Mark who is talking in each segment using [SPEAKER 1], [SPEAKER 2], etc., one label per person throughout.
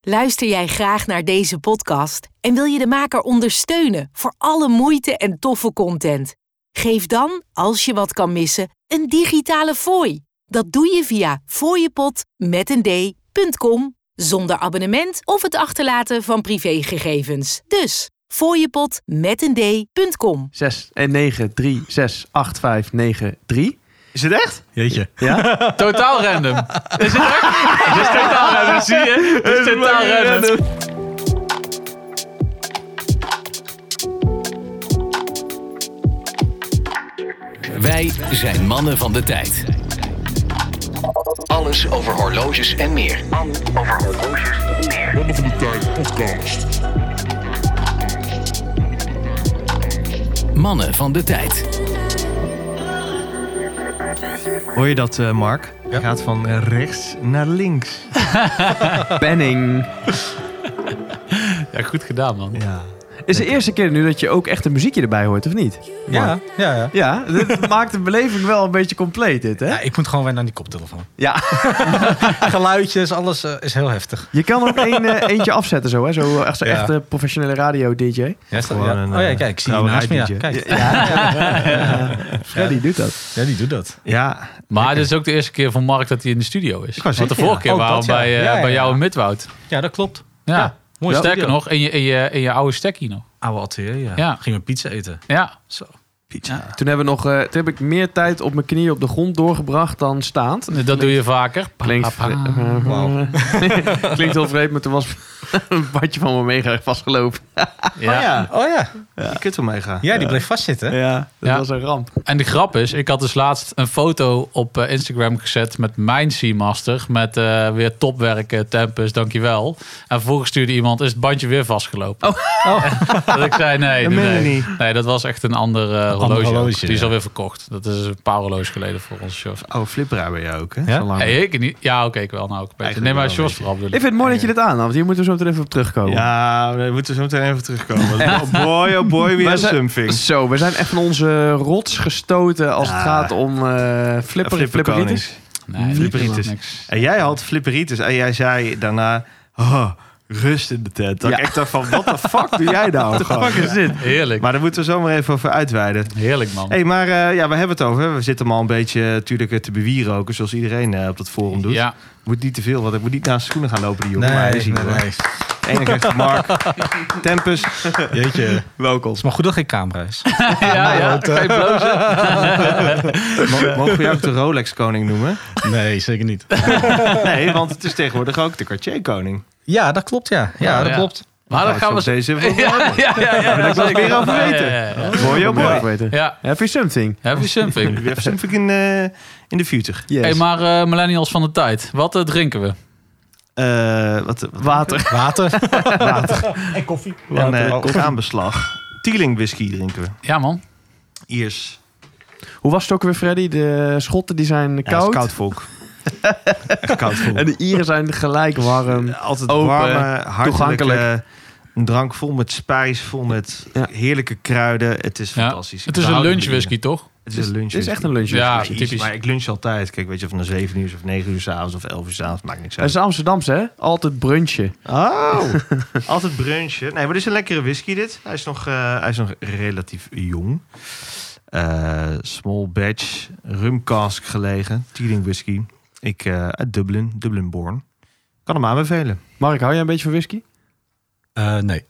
[SPEAKER 1] Luister jij graag naar deze podcast en wil je de maker ondersteunen voor alle moeite en toffe content? Geef dan, als je wat kan missen, een digitale fooi. Dat doe je via fooiepot.com zonder abonnement of het achterlaten van privégegevens. Dus fooiepot.com.
[SPEAKER 2] 6 en 9, 3, 6, 8, 5, 9, 3. Is het echt?
[SPEAKER 3] Jeetje.
[SPEAKER 2] Ja.
[SPEAKER 4] Totaal random. Is het ook? Het is totaal random, zie je? Het is totaal random.
[SPEAKER 5] dus- Wij zijn mannen van de tijd. Alles over horloges en meer.
[SPEAKER 6] Mannen van de Tijd podcast.
[SPEAKER 5] Mannen van de tijd.
[SPEAKER 3] Hoor je dat, eh, Mark? Het gaat van eh, rechts naar links.
[SPEAKER 2] Benning.
[SPEAKER 4] Ja, goed gedaan, man.
[SPEAKER 3] Ja.
[SPEAKER 2] Is de eerste keer nu dat je ook echt een muziekje erbij hoort, of niet?
[SPEAKER 3] Ja, ja, ja.
[SPEAKER 2] Ja, dit maakt de beleving wel een beetje compleet, dit, hè?
[SPEAKER 3] ik moet gewoon weer naar die koptelefoon.
[SPEAKER 2] Ja.
[SPEAKER 3] Geluidjes, alles eh, is heel heftig.
[SPEAKER 2] Je kan ook een, eh, eentje afzetten zo, hè? Zo, eh, echt zo'n
[SPEAKER 3] Ja.
[SPEAKER 2] echte professionele radio-dj.
[SPEAKER 3] Ja, is dat-
[SPEAKER 7] Gewoon
[SPEAKER 3] ja.
[SPEAKER 7] een,
[SPEAKER 3] oh ja,
[SPEAKER 7] eh,
[SPEAKER 3] kijk, ik zie je
[SPEAKER 7] trouwe
[SPEAKER 3] naast me. Ja,
[SPEAKER 7] huiddientje.
[SPEAKER 3] kijk.
[SPEAKER 2] Freddy doet dat.
[SPEAKER 3] ja, die doet dat. Ja,
[SPEAKER 4] Maar dit is ook de eerste keer van Mark dat hij in de studio is.
[SPEAKER 3] wou
[SPEAKER 4] Want de
[SPEAKER 3] zeggen,
[SPEAKER 4] vorige
[SPEAKER 3] ja.
[SPEAKER 4] keer
[SPEAKER 3] Ook
[SPEAKER 4] waren
[SPEAKER 3] dat,
[SPEAKER 4] we
[SPEAKER 3] ja.
[SPEAKER 4] bij, eh,
[SPEAKER 3] Ja, ja,
[SPEAKER 4] bij jou
[SPEAKER 3] ja.
[SPEAKER 4] in Midwoud.
[SPEAKER 3] ja, dat klopt.
[SPEAKER 4] Ja.
[SPEAKER 3] mooi
[SPEAKER 4] Sterker
[SPEAKER 3] studio.
[SPEAKER 4] nog, in je, in, je, in je oude stekkie nog.
[SPEAKER 3] Oude atelier, ja.
[SPEAKER 4] Ja.
[SPEAKER 3] Gingen we pizza eten.
[SPEAKER 4] Ja.
[SPEAKER 3] Zo.
[SPEAKER 2] Toen, hebben we nog, eh, toen heb ik meer tijd op mijn knieën op de grond doorgebracht dan staand.
[SPEAKER 4] Dat doe je vaker.
[SPEAKER 2] Klinkt, eh,
[SPEAKER 4] Pa, pa, pa.
[SPEAKER 3] Wauw.
[SPEAKER 2] klinkt heel vreemd, maar toen was een badje van me mega vastgelopen.
[SPEAKER 4] Ja.
[SPEAKER 3] Oh ja.
[SPEAKER 7] Die kunt wel meegaan.
[SPEAKER 3] Ja, die bleef vastzitten.
[SPEAKER 2] Ja, dat
[SPEAKER 4] Ja.
[SPEAKER 2] was een ramp.
[SPEAKER 4] En de grap is, ik had dus laatst een foto op eh, Instagram gezet met mijn Seamaster. Met eh, weer topwerken, Tempus, dankjewel. En vervolgens stuurde iemand, is het bandje weer vastgelopen? Oh. dat ik zei, nee,
[SPEAKER 7] Dat
[SPEAKER 4] nee,
[SPEAKER 7] meen je
[SPEAKER 4] nee.
[SPEAKER 7] niet.
[SPEAKER 4] Nee, dat was echt een ander eh, horloge. ook.
[SPEAKER 3] horloge,
[SPEAKER 4] Die is
[SPEAKER 3] ja.
[SPEAKER 4] alweer verkocht. Dat is een paar horloges geleden voor onze show.
[SPEAKER 7] Oh, flipperaar ben jij ook, hè?
[SPEAKER 3] Ja?
[SPEAKER 7] Zo lang.
[SPEAKER 4] Hey, ik niet. Ja, oké, ik wel. Nou, ook beter. Nee,
[SPEAKER 7] Eigenlijk
[SPEAKER 4] maar
[SPEAKER 7] wel,
[SPEAKER 4] Sjors
[SPEAKER 7] weet je.
[SPEAKER 4] vooral bedoel
[SPEAKER 2] Ik vind het mooi dat je dit aan, want hier moeten we zo meteen even op terugkomen.
[SPEAKER 7] Ja, we moeten zo meteen even terugkomen. Oh boy, oh boy, weer
[SPEAKER 2] Wij
[SPEAKER 7] een
[SPEAKER 2] zijn-
[SPEAKER 7] something.
[SPEAKER 2] Zo, we zijn echt van onze rots gestoten als het
[SPEAKER 7] Ja.
[SPEAKER 2] gaat om eh flipper,
[SPEAKER 7] Ja,
[SPEAKER 2] flipperitis.
[SPEAKER 7] flipperkonings.
[SPEAKER 4] Nee, nee,
[SPEAKER 7] Flipperitis.
[SPEAKER 4] dat is niks.
[SPEAKER 7] En jij had flipperitis en jij zei daarna... Oh, rust in de tent. Dat
[SPEAKER 2] Ja.
[SPEAKER 7] ik echt dacht van, wat de fuck doe jij nou? Gewoon?
[SPEAKER 2] Fuck is dit?
[SPEAKER 4] Heerlijk.
[SPEAKER 7] Maar daar moeten we zomaar even over uitweiden.
[SPEAKER 4] Heerlijk, man.
[SPEAKER 7] Hé, hey, maar eh, ja, we hebben het over. We zitten hem al een beetje eh, natuurlijk eh, te bewieren ook, zoals iedereen eh, op dat forum doet.
[SPEAKER 4] Ja,
[SPEAKER 7] Moet niet te veel, want ik moet niet naast de schoenen gaan lopen, die jongen. maar hij is hier, hoor. Enige echte Mark, Tempus.
[SPEAKER 3] Jeetje. Het
[SPEAKER 7] Welkom.
[SPEAKER 3] is maar goed dat geen camera is.
[SPEAKER 4] ja, ja. Geen blozen.
[SPEAKER 7] Mogen we jou ook de Rolex-koning noemen?
[SPEAKER 3] Nee, zeker niet.
[SPEAKER 7] Nee, want het is tegenwoordig ook de Cartier-koning.
[SPEAKER 3] Ja, dat klopt, ja. Ja, dat
[SPEAKER 4] ja.
[SPEAKER 3] klopt.
[SPEAKER 4] Maar Ah,
[SPEAKER 7] Nou,
[SPEAKER 4] dan gaan we...
[SPEAKER 7] Deze even
[SPEAKER 4] Ja, ja, ja. ja, ja,
[SPEAKER 7] wil ik wel
[SPEAKER 4] zeker.
[SPEAKER 7] meer over weten.
[SPEAKER 4] Ja, ja, ja, ja.
[SPEAKER 7] Mooi,
[SPEAKER 2] Heel
[SPEAKER 7] oh
[SPEAKER 2] mooi
[SPEAKER 7] mooi.
[SPEAKER 2] weten.
[SPEAKER 4] Ja,
[SPEAKER 2] Have you something?
[SPEAKER 4] have you something.
[SPEAKER 7] We hebben something in, eh, in de future.
[SPEAKER 2] Yes.
[SPEAKER 4] Hey, maar eh, millennials van de tijd, wat eh, drinken we?
[SPEAKER 7] Eh, wat, water.
[SPEAKER 3] Water.
[SPEAKER 7] En eh, kraanbeslag. Teeling whisky drinken we.
[SPEAKER 4] Ja, man.
[SPEAKER 7] Iers.
[SPEAKER 2] Hoe was het ook weer, Freddy? De schotten die zijn
[SPEAKER 7] Ja, dat
[SPEAKER 2] koud.
[SPEAKER 7] is koud volk. Echt koud volk.
[SPEAKER 2] En de Ieren zijn gelijk warm.
[SPEAKER 7] Eh, Altijd
[SPEAKER 2] Open,
[SPEAKER 7] warme,
[SPEAKER 2] toegankelijk.
[SPEAKER 7] hartelijk. Een drank vol met spijs, vol met
[SPEAKER 2] Ja.
[SPEAKER 7] heerlijke kruiden. Het is
[SPEAKER 4] Ja.
[SPEAKER 7] fantastisch. Ik
[SPEAKER 4] Het is een
[SPEAKER 7] hou van die
[SPEAKER 4] lunchwhisky, toch?
[SPEAKER 7] dingen. Het is een lunch.
[SPEAKER 2] Dit is echt een lunch.
[SPEAKER 4] Ja,
[SPEAKER 2] Ja.
[SPEAKER 7] Precies,
[SPEAKER 4] typisch.
[SPEAKER 7] Maar ik lunch altijd. Kijk, weet je, van de 7 uur of 9 uur s'avonds of 11 uur s'avonds. Maakt niks
[SPEAKER 2] Het
[SPEAKER 7] uit.
[SPEAKER 2] is Amsterdamse, hè? Altijd brunchje.
[SPEAKER 7] Oh, altijd brunchen. Nee, maar dit is een lekkere whisky dit. Hij is nog, eh, hij is nog relatief jong. Eh, small batch, rum cask gelegen. Teeling whisky. Ik eh, uit Dublin, Dublinborn. Kan hem aanbevelen.
[SPEAKER 2] Mark, hou jij een beetje van whisky? Ah.
[SPEAKER 3] Eh, nee.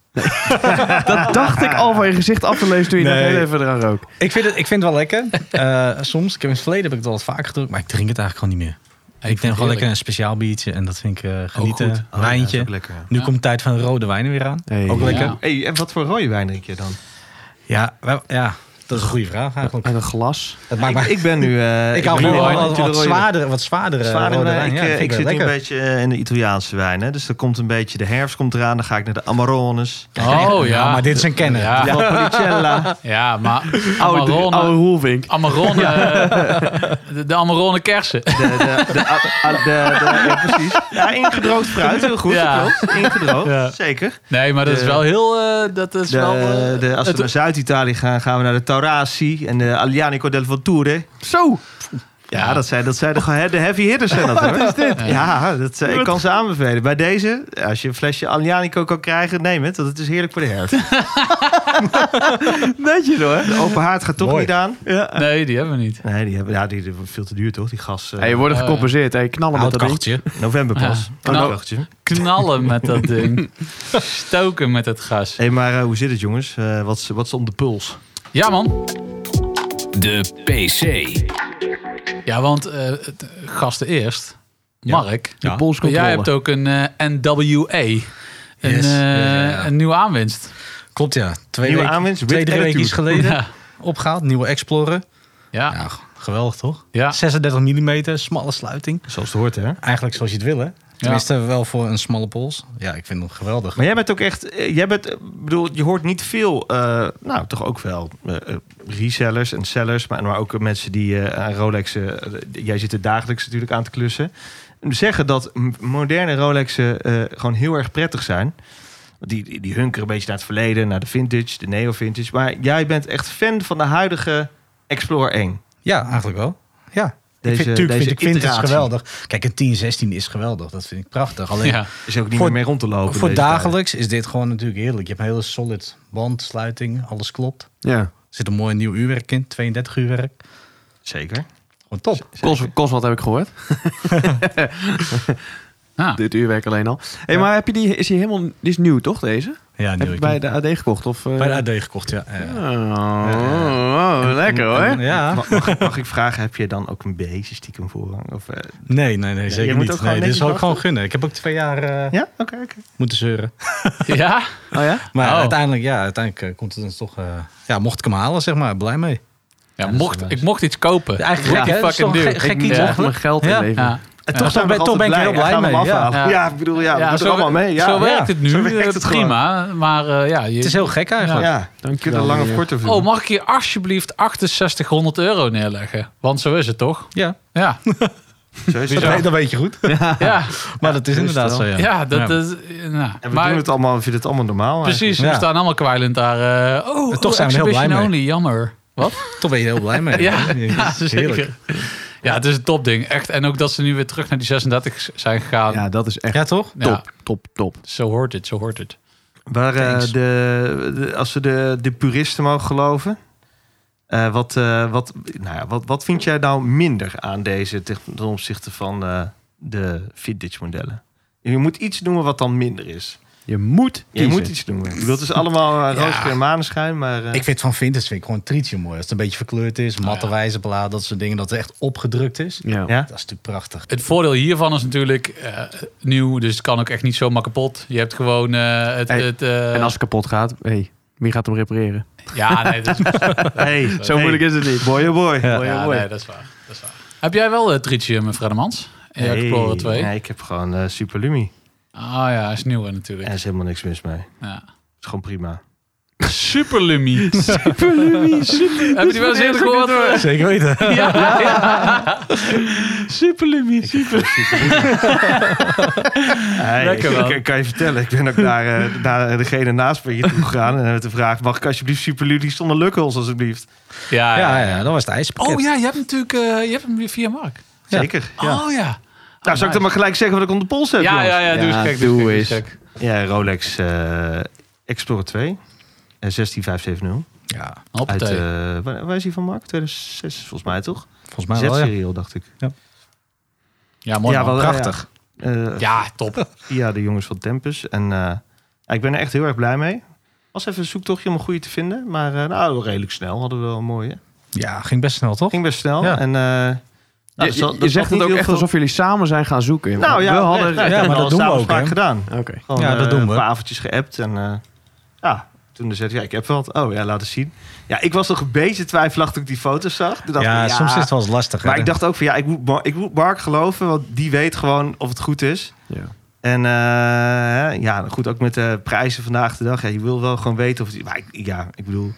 [SPEAKER 2] Dat dacht ik al van je gezicht af te lezen toen je
[SPEAKER 3] Nee.
[SPEAKER 2] net heel even eraan rook.
[SPEAKER 3] Ik vind, het, ik vind het wel lekker. Eh, soms, ik heb in het verleden heb ik het al wat vaker gedronken, maar ik drink het eigenlijk gewoon niet meer. ik neem gewoon lekker een speciaal biertje en dat vind ik eh, genieten.
[SPEAKER 4] goed.
[SPEAKER 7] Oh, ja, dat
[SPEAKER 3] Wijntje.
[SPEAKER 7] is ook lekker. ja.
[SPEAKER 3] nu
[SPEAKER 4] Ja.
[SPEAKER 3] komt de tijd van de rode wijnen weer aan.
[SPEAKER 2] Hey.
[SPEAKER 3] Ook lekker.
[SPEAKER 4] Ja.
[SPEAKER 7] Hey, en wat voor rode wijn drink je dan?
[SPEAKER 3] Ja, wel- ja, dat is een goede vraag eigenlijk.
[SPEAKER 2] En een glas.
[SPEAKER 3] Dat maakt maar,
[SPEAKER 7] ik, ik ben nu... eh, ben
[SPEAKER 3] ik hou gewoon
[SPEAKER 7] nu
[SPEAKER 3] wel
[SPEAKER 7] al
[SPEAKER 3] wat,
[SPEAKER 7] natuurlijk
[SPEAKER 3] wat
[SPEAKER 7] rode-
[SPEAKER 3] zwaardere, wat zwaardere,
[SPEAKER 7] Zwaardere
[SPEAKER 3] rode
[SPEAKER 7] wijn.
[SPEAKER 3] wijn. Ja,
[SPEAKER 7] ik,
[SPEAKER 3] dat
[SPEAKER 7] eh, ik
[SPEAKER 3] vind ik
[SPEAKER 7] zit
[SPEAKER 3] wel
[SPEAKER 7] nu een
[SPEAKER 3] lekker.
[SPEAKER 7] beetje eh, in de Italiaanse wijn. Hè? Dus er komt een beetje... De herfst komt eraan. Dan ga ik naar de Amarones.
[SPEAKER 4] Oh, ja.
[SPEAKER 3] maar dit is een kenner.
[SPEAKER 4] Ja, ja.
[SPEAKER 7] Valpolicella.
[SPEAKER 4] maar
[SPEAKER 2] Oude, oude
[SPEAKER 4] Amarone...
[SPEAKER 2] Roelvink.
[SPEAKER 4] Amarone... eh, de- De Amarone kersen.
[SPEAKER 7] De, de, de, a- de, de- ja, precies. Ja, ingedroogd fruit, heel goed.
[SPEAKER 4] Ja.
[SPEAKER 7] dat klopt. Ingedroogd, zeker.
[SPEAKER 4] Nee, maar dat is
[SPEAKER 7] De-
[SPEAKER 4] wel heel... eh, dat is wel...
[SPEAKER 7] De,
[SPEAKER 4] eh,
[SPEAKER 7] de, als we naar Zuid-Italië gaan, gaan we naar de Taurasi en de Alianico del Vulture.
[SPEAKER 2] Zo!
[SPEAKER 7] Ja, dat zijn, dat zijn de, gewoon de heavy hitters zijn dat hoor. Wat is dit? Ja, dat, eh, ik kan ze aanbevelen. Bij deze, als je een flesje Aglianico kan krijgen, neem het. Want het is heerlijk voor de herfst.
[SPEAKER 2] Netjes hoor.
[SPEAKER 7] De open haard gaat toch
[SPEAKER 3] Mooi.
[SPEAKER 7] niet aan.
[SPEAKER 4] Nee, die hebben we niet.
[SPEAKER 7] Nee, die hebben ja, die, die veel te duur toch, die gas. eh,
[SPEAKER 2] Hey, je wordt gecompenseerd. Hey, knallen met
[SPEAKER 3] Oud
[SPEAKER 2] dat ding.
[SPEAKER 3] kacheltje.
[SPEAKER 7] November pas.
[SPEAKER 4] Ja.
[SPEAKER 7] Oh,
[SPEAKER 4] Nou.
[SPEAKER 7] dachtje.
[SPEAKER 4] Knallen met dat ding. Stoken met het gas.
[SPEAKER 7] Hé, maar eh, hoe zit het jongens? Eh, wat, is- wat is om de puls?
[SPEAKER 4] Ja, man.
[SPEAKER 5] De PC.
[SPEAKER 4] Ja, want eh, het- gasten eerst. Mark,
[SPEAKER 2] Die
[SPEAKER 3] Ja.
[SPEAKER 2] polscontrole.
[SPEAKER 4] jij hebt ook een eh, NWA. Een,
[SPEAKER 3] Yes.
[SPEAKER 4] eh,
[SPEAKER 3] Ja, ja, ja.
[SPEAKER 4] een nieuwe aanwinst.
[SPEAKER 3] Klopt ja. Twee
[SPEAKER 7] Nieuwe
[SPEAKER 3] weken-
[SPEAKER 7] aanwinst,
[SPEAKER 3] Twee,
[SPEAKER 7] with
[SPEAKER 3] drie
[SPEAKER 7] attitude.
[SPEAKER 3] weken geleden
[SPEAKER 4] Ja.
[SPEAKER 3] opgehaald. Nieuwe Explorer.
[SPEAKER 4] Ja.
[SPEAKER 3] Ja, geweldig toch?
[SPEAKER 4] Ja.
[SPEAKER 3] 36 mm, smalle sluiting.
[SPEAKER 7] Zoals het hoort, hè?
[SPEAKER 3] Eigenlijk zoals je het wil hè. Tenminste wel voor een smalle pols. Ja, ik vind hem geweldig.
[SPEAKER 7] Maar jij bent ook echt, eh, jij bent, eh, bedoel, je hoort niet veel, eh, nou toch ook wel eh, eh, resellers en sellers, maar, maar ook eh, mensen die eh, aan Rolexen, eh, jij zit er dagelijks natuurlijk aan te klussen, zeggen dat m- moderne Rolexen eh, gewoon heel erg prettig zijn. Die, die, die hunkeren een beetje naar het verleden, naar de vintage, de neo-vintage. Maar jij bent echt fan van de huidige Explorer 1.
[SPEAKER 3] Ja, eigenlijk wel. Ja.
[SPEAKER 7] Deze-
[SPEAKER 3] ik vind, tuurlijk
[SPEAKER 7] deze
[SPEAKER 3] vind ik vintage
[SPEAKER 7] iteratie.
[SPEAKER 3] geweldig. Kijk, een 1016 is geweldig. Dat vind ik prachtig. Alleen
[SPEAKER 4] Ja.
[SPEAKER 7] Is ook niet
[SPEAKER 3] Voor-
[SPEAKER 7] meer mee rond te lopen.
[SPEAKER 3] voor
[SPEAKER 7] deze tijden.
[SPEAKER 3] dagelijks is dit gewoon natuurlijk heerlijk. Je hebt een hele solid band, sluiting, alles klopt.
[SPEAKER 2] Ja.
[SPEAKER 3] Er zit een mooi nieuw uurwerk in, 32 uurwerk.
[SPEAKER 7] Zeker.
[SPEAKER 3] Gewoon Oh, top.
[SPEAKER 2] Kost, kost wat heb ik gehoord.
[SPEAKER 4] Ah.
[SPEAKER 2] Dit uurwerk alleen al. Hey, maar heb je die, is die helemaal... Die is nieuw toch, deze?
[SPEAKER 3] Ja,
[SPEAKER 2] Heb
[SPEAKER 3] nieuw.
[SPEAKER 2] je
[SPEAKER 3] Ik-
[SPEAKER 2] bij de AD gekocht? Of, eh?
[SPEAKER 3] bij de AD gekocht, ja. ja.
[SPEAKER 2] Oh, oh, lekker hoor.
[SPEAKER 3] En- ja.
[SPEAKER 7] Mag, mag, mag ik vragen, heb je dan ook een beetje stiekem voorrang? Of, eh,
[SPEAKER 3] Nee, nee, nee,
[SPEAKER 7] jij
[SPEAKER 3] zeker
[SPEAKER 7] moet ook
[SPEAKER 3] niet.
[SPEAKER 7] gewoon
[SPEAKER 3] Nee, dit
[SPEAKER 7] netjes
[SPEAKER 3] zal ik
[SPEAKER 7] wachten.
[SPEAKER 3] gewoon gunnen. Ik heb ook twee jaar eh,
[SPEAKER 7] ja, oké. oké.
[SPEAKER 3] moeten zeuren.
[SPEAKER 4] ja?
[SPEAKER 2] Oh ja?
[SPEAKER 3] Maar
[SPEAKER 4] Oh.
[SPEAKER 3] uiteindelijk, ja, uiteindelijk eh, komt het dan toch... eh, ja, mocht ik hem halen, zeg maar, blij mee.
[SPEAKER 4] Ja, mocht, ik mocht iets kopen.
[SPEAKER 3] Eigenlijk
[SPEAKER 4] Ja,
[SPEAKER 3] gek, hè? Dat is
[SPEAKER 4] fucking
[SPEAKER 3] toch
[SPEAKER 4] duur.
[SPEAKER 3] gek-
[SPEAKER 2] ik
[SPEAKER 3] gek iets,
[SPEAKER 2] mocht
[SPEAKER 3] hè?
[SPEAKER 2] mijn geld
[SPEAKER 3] Ja.
[SPEAKER 2] inleveren.
[SPEAKER 4] Ja.
[SPEAKER 3] En toch,
[SPEAKER 7] zijn
[SPEAKER 3] ben,
[SPEAKER 7] we
[SPEAKER 3] toch ben ik er heel
[SPEAKER 7] altijd
[SPEAKER 3] blij
[SPEAKER 7] gaan we
[SPEAKER 3] mee.
[SPEAKER 7] hem
[SPEAKER 3] Ja.
[SPEAKER 7] afhalen. Ja. ik bedoel, ja, we doen er allemaal mee. Ja,
[SPEAKER 4] zo
[SPEAKER 7] ja.
[SPEAKER 4] werkt het nu.
[SPEAKER 7] Zo werkt
[SPEAKER 4] eh,
[SPEAKER 7] het
[SPEAKER 4] prima. Maar eh, ja, je-
[SPEAKER 3] Het is heel gek eigenlijk.
[SPEAKER 7] Ja,
[SPEAKER 2] Dank
[SPEAKER 7] dan
[SPEAKER 2] je
[SPEAKER 7] kun je
[SPEAKER 2] wel,
[SPEAKER 7] er lang of
[SPEAKER 2] meneer.
[SPEAKER 7] kort over doen.
[SPEAKER 4] Oh, mag ik hier alsjeblieft 6800 euro neerleggen? Want zo is het toch?
[SPEAKER 3] Ja,
[SPEAKER 4] Ja,
[SPEAKER 7] Zo is
[SPEAKER 3] dat
[SPEAKER 7] het.
[SPEAKER 3] weet- dat weet je goed.
[SPEAKER 4] ja,
[SPEAKER 3] Maar dat is
[SPEAKER 2] dat is
[SPEAKER 3] inderdaad zo,
[SPEAKER 2] wel.
[SPEAKER 3] ja.
[SPEAKER 4] ja, dat
[SPEAKER 3] Ja.
[SPEAKER 4] is. nou,
[SPEAKER 7] En we
[SPEAKER 4] maar
[SPEAKER 7] doen het allemaal, we vinden het allemaal normaal.
[SPEAKER 4] precies, we
[SPEAKER 3] Ja.
[SPEAKER 4] staan allemaal kwijlend daar. eh, oh,
[SPEAKER 3] toch
[SPEAKER 4] oh,
[SPEAKER 3] zijn we er heel blij
[SPEAKER 4] exhibition
[SPEAKER 3] mee.
[SPEAKER 4] only, jammer. Wat?
[SPEAKER 3] Toch ben je er heel blij mee.
[SPEAKER 4] Ja, ja,
[SPEAKER 3] dat is heerlijk.
[SPEAKER 4] zeker. Ja, het is een topding. Echt. En ook dat ze nu weer terug naar die 36 zijn gegaan. Ja,
[SPEAKER 2] Ja, dat is echt
[SPEAKER 3] Ja, toch?
[SPEAKER 2] top, top, top.
[SPEAKER 4] zo hoort het, zo hoort het.
[SPEAKER 7] Waar, eh,
[SPEAKER 3] Thanks.
[SPEAKER 7] de, de- als we de, de puristen mogen geloven. eh, wat, eh, wat, nou ja, wat, wat vind jij nou minder aan deze te- ten opzichte van eh, de vintage modellen? Je moet iets noemen wat dan minder is.
[SPEAKER 2] Je moet
[SPEAKER 7] Je
[SPEAKER 2] kiezen.
[SPEAKER 7] moet iets noemen. Ik bedoel, het is allemaal eh,
[SPEAKER 3] Ja.
[SPEAKER 7] rooskleur en maneschijn, maar... eh,
[SPEAKER 3] Ik vind van vintage vind ik gewoon trietje mooi. Als het een beetje verkleurd is, matte wijzerbladen, dat soort dingen. Dat het echt opgedrukt is.
[SPEAKER 2] Ja.
[SPEAKER 7] ja?
[SPEAKER 3] Dat is natuurlijk prachtig.
[SPEAKER 4] Het voordeel hiervan is natuurlijk eh, nieuw, dus het kan ook echt niet zomaar kapot. Je hebt gewoon eh, het.
[SPEAKER 2] Hey,
[SPEAKER 4] het eh,
[SPEAKER 2] En als het kapot gaat, hey, wie gaat hem repareren?
[SPEAKER 4] Ja, nee, dat is,
[SPEAKER 7] Hey,
[SPEAKER 2] Zo
[SPEAKER 7] hey.
[SPEAKER 2] moeilijk is het niet.
[SPEAKER 7] Boy, oh boy. Boy, oh
[SPEAKER 4] ja,
[SPEAKER 7] boy.
[SPEAKER 4] nee, dat is waar. Dat is waar. Heb jij wel eh, het tritium, Fredemans? In jouw
[SPEAKER 7] Nee,
[SPEAKER 4] Explorer 2?
[SPEAKER 7] nee, ik heb gewoon eh Superlumi.
[SPEAKER 4] Ah ja, is nieuw
[SPEAKER 7] En
[SPEAKER 4] natuurlijk.
[SPEAKER 7] er is helemaal niks mis mee. Het
[SPEAKER 4] Ja.
[SPEAKER 7] is gewoon prima.
[SPEAKER 4] Super Lummy. Heb je die wel eens eerder gehoord?
[SPEAKER 3] Zeker weten.
[SPEAKER 4] Ja, Super Lummy.
[SPEAKER 7] Hey,
[SPEAKER 4] Lekker
[SPEAKER 7] ik,
[SPEAKER 4] wel.
[SPEAKER 7] ik kan je vertellen, ik ben ook naar, eh, naar degene naast me hier toe gegaan en heb gevraagd: mag ik alsjeblieft Superlumi zonder lukkels, alsjeblieft?
[SPEAKER 4] Ja, ja.
[SPEAKER 3] Ja, ja, dat was het ijspakket.
[SPEAKER 4] Oh ja, je hebt natuurlijk eh, je hebt hem weer via Mark.
[SPEAKER 3] Ja.
[SPEAKER 7] Zeker. Ja.
[SPEAKER 4] Oh ja.
[SPEAKER 7] nou, zou ik dan maar gelijk zeggen wat ik onder de pols heb?
[SPEAKER 4] Ja,
[SPEAKER 7] jongens?
[SPEAKER 4] ja, ja, doe eens
[SPEAKER 2] Ja,
[SPEAKER 4] gek.
[SPEAKER 2] doe
[SPEAKER 4] Doe eens
[SPEAKER 2] eens.
[SPEAKER 4] gek.
[SPEAKER 7] Ja, Rolex eh, Explorer 2, eh, 16570.
[SPEAKER 3] Ja,
[SPEAKER 7] Uit,
[SPEAKER 4] Hoppatee.
[SPEAKER 7] eh, waar, waar is die van Mark? 2006, volgens mij toch?
[SPEAKER 3] volgens mij wel, ja.
[SPEAKER 7] Z-serieel, dacht ik.
[SPEAKER 4] Ja, mooi
[SPEAKER 7] ja,
[SPEAKER 4] man.
[SPEAKER 7] wel, eh,
[SPEAKER 3] Prachtig.
[SPEAKER 7] ja. Eh,
[SPEAKER 4] Ja, top.
[SPEAKER 7] via de jongens van Tempus. En eh, ja, ik ben er echt heel erg blij mee. Was even een zoektochtje om een goede te vinden. Maar eh, nou, redelijk snel hadden we wel een mooie.
[SPEAKER 3] Ja, ging best snel, toch?
[SPEAKER 7] Ging best snel.
[SPEAKER 3] Ja.
[SPEAKER 7] En, eh, nou,
[SPEAKER 2] Je,
[SPEAKER 7] er
[SPEAKER 2] je- je
[SPEAKER 7] zat- er zat
[SPEAKER 2] zegt het
[SPEAKER 7] niet
[SPEAKER 2] ook
[SPEAKER 7] heel
[SPEAKER 2] echt
[SPEAKER 7] veel-
[SPEAKER 2] alsof jullie samen zijn gaan zoeken.
[SPEAKER 7] Nou ja,
[SPEAKER 2] we hadden...
[SPEAKER 7] hadden,
[SPEAKER 3] ja, maar dat doen we ook, hè?
[SPEAKER 7] gedaan.
[SPEAKER 2] Oké.
[SPEAKER 7] Gewoon,
[SPEAKER 3] Ja, dat
[SPEAKER 7] eh,
[SPEAKER 3] doen we.
[SPEAKER 7] Een paar avondjes geappt. En eh, ja, toen zei hij, ja, ik heb wat. Oh ja, laat eens zien. Ja, ik was toch een beetje twijfelachtig toen ik die foto's zag. Toen dacht
[SPEAKER 3] Ja,
[SPEAKER 7] ik, ja,
[SPEAKER 3] soms is het wel eens lastig. hè.
[SPEAKER 7] Maar ik dacht ook van, ja, ik moet, Mar- ik moet Mark geloven. Want die weet gewoon of het goed is.
[SPEAKER 2] Ja.
[SPEAKER 7] En eh, ja, goed, ook met de prijzen vandaag de dag. Ja, je wil wel gewoon weten of... het- Maar ik, ja, ik bedoel,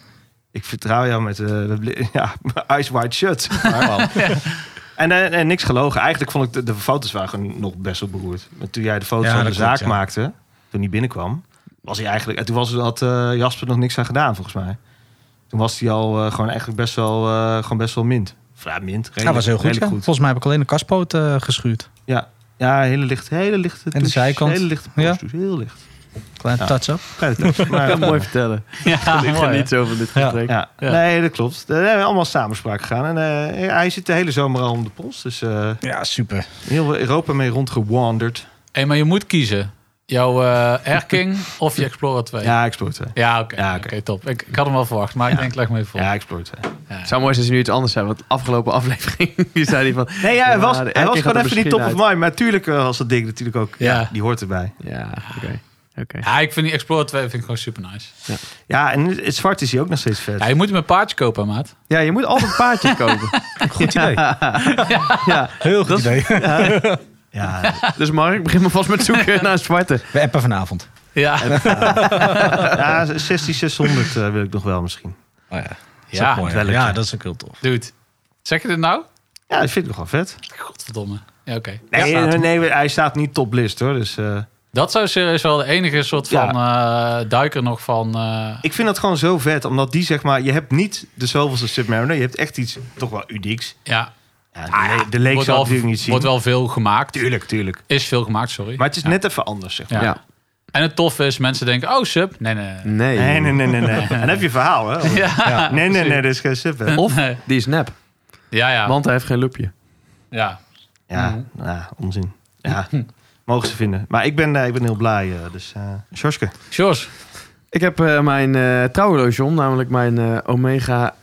[SPEAKER 7] ik vertrouw jou met eh, de bli- ja, eyes wide shut. zeg maar, man. en, eh, en niks gelogen. Eigenlijk vond ik de, de foto's waren gewoon nog best wel beroerd. Maar toen jij de foto's
[SPEAKER 3] Ja,
[SPEAKER 7] van de
[SPEAKER 3] dat klopt,
[SPEAKER 7] zaak
[SPEAKER 3] ja.
[SPEAKER 7] maakte, toen die binnenkwam... Was hij eigenlijk, en toen was, had eh, Jasper nog niks aan gedaan, volgens mij. Toen was hij al eh, gewoon eigenlijk best wel, eh, gewoon best wel mint. Of ja, mint. Redelijk,
[SPEAKER 3] dat was heel goed, ja.
[SPEAKER 7] redelijk
[SPEAKER 3] Volgens mij heb ik alleen de kaspoot eh, geschuurd.
[SPEAKER 7] Ja. ja, hele licht. Hele lichte
[SPEAKER 3] de
[SPEAKER 7] touche,
[SPEAKER 3] zijkant.
[SPEAKER 7] Hele lichte
[SPEAKER 3] Ja.
[SPEAKER 7] post, dus heel licht.
[SPEAKER 3] Klein
[SPEAKER 7] Ja.
[SPEAKER 3] touch-up.
[SPEAKER 7] Kleine touche, maar-
[SPEAKER 2] Ik kan mooi vertellen.
[SPEAKER 4] Ja,
[SPEAKER 2] ik
[SPEAKER 4] mooi, hè?
[SPEAKER 2] geniet zo van dit
[SPEAKER 3] Ja.
[SPEAKER 2] gesprek.
[SPEAKER 7] Ja.
[SPEAKER 4] Ja.
[SPEAKER 7] nee, dat klopt. Daar hebben we allemaal samenspraak gegaan. En eh, hij zit de hele zomer al om de pols. Dus eh,
[SPEAKER 3] Ja, super.
[SPEAKER 7] heel veel Europa mee rondgewanderd.
[SPEAKER 4] Hey, maar je moet kiezen. Jouw eh Erking of je Explorer 2.
[SPEAKER 7] Ja, Exploit 2.
[SPEAKER 4] Ja, oké.
[SPEAKER 7] Ja,
[SPEAKER 4] oké,
[SPEAKER 7] oké.
[SPEAKER 4] top. Ik, ik had hem wel verwacht, maar ik denk, leg me even voor.
[SPEAKER 7] Ja, Exploit 2.
[SPEAKER 2] Het zou mooi zijn als hij nu iets anders zei. Want de afgelopen aflevering die zei hij van...
[SPEAKER 7] Nee, ja, hij
[SPEAKER 2] Ja,
[SPEAKER 7] was,
[SPEAKER 2] de
[SPEAKER 7] hij
[SPEAKER 2] Erking
[SPEAKER 7] was
[SPEAKER 2] gaat
[SPEAKER 7] gewoon
[SPEAKER 2] er
[SPEAKER 7] even niet top
[SPEAKER 2] misschien
[SPEAKER 7] of
[SPEAKER 2] uit.
[SPEAKER 7] mind. Maar natuurlijk eh, was dat ding natuurlijk ook... Ja.
[SPEAKER 4] Ja.
[SPEAKER 7] die hoort erbij.
[SPEAKER 2] Ja, oké. oké.
[SPEAKER 4] Ja, ik vind die Explorer 2 vind ik gewoon super nice.
[SPEAKER 7] Ja, en het zwart is hij ook nog steeds vet.
[SPEAKER 4] Ja, je moet hem een paardje kopen, maat.
[SPEAKER 2] Ja, je moet altijd paardjes kopen.
[SPEAKER 3] Goed idee.
[SPEAKER 2] ja.
[SPEAKER 3] Heel goed idee.
[SPEAKER 7] Ja,
[SPEAKER 2] Dus Mark, begin maar vast met zoeken naar een zwarte.
[SPEAKER 3] We appen vanavond.
[SPEAKER 4] Ja,
[SPEAKER 7] ja 16600 eh, wil ik nog wel misschien.
[SPEAKER 3] ja.
[SPEAKER 4] ja,
[SPEAKER 3] ja, dat is ook heel tof.
[SPEAKER 4] dude. Zeg je dit nou?
[SPEAKER 7] Ja, dat vind ik nog wel vet.
[SPEAKER 4] Godverdomme. Ja, oké.
[SPEAKER 7] Nee,
[SPEAKER 4] Ja,
[SPEAKER 7] nee,
[SPEAKER 4] staat.
[SPEAKER 7] nee, hij staat niet toplist hoor. Dus, eh,
[SPEAKER 4] Dat zou serieus wel de enige soort
[SPEAKER 7] Ja.
[SPEAKER 4] van eh, duiker nog van... eh,
[SPEAKER 7] ik vind dat gewoon zo vet. Omdat die zeg maar... Je hebt niet de zoveelste Submariner. Je hebt echt iets toch wel unieks.
[SPEAKER 4] Ah, ja,
[SPEAKER 7] Ja, de, le- de leek zal het
[SPEAKER 4] wordt, wel,
[SPEAKER 7] natuurlijk niet zien.
[SPEAKER 4] wordt wel veel gemaakt.
[SPEAKER 7] Tuurlijk, tuurlijk.
[SPEAKER 4] Is veel gemaakt, sorry.
[SPEAKER 7] Maar het is
[SPEAKER 4] Ja.
[SPEAKER 7] net even anders, zeg maar.
[SPEAKER 4] Ja.
[SPEAKER 2] Ja.
[SPEAKER 4] En het tof is, mensen denken, oh, sub. Nee, nee, nee.
[SPEAKER 2] Nee.
[SPEAKER 7] Nee, nee, nee, nee, nee. En dan heb je verhaal, hè? nee, nee, nee, dat is geen sub, hè?
[SPEAKER 2] Of die is nep,
[SPEAKER 4] Ja, ja.
[SPEAKER 2] want hij heeft geen lupje.
[SPEAKER 4] ja.
[SPEAKER 7] Ja, ja, onzin. Ja, mogen ze vinden. Maar ik ben, eh, ik ben heel blij, eh, dus... eh Sjorske.
[SPEAKER 4] Sjors.
[SPEAKER 2] Ik heb eh, mijn eh trouwhorloge om, namelijk mijn eh, Omega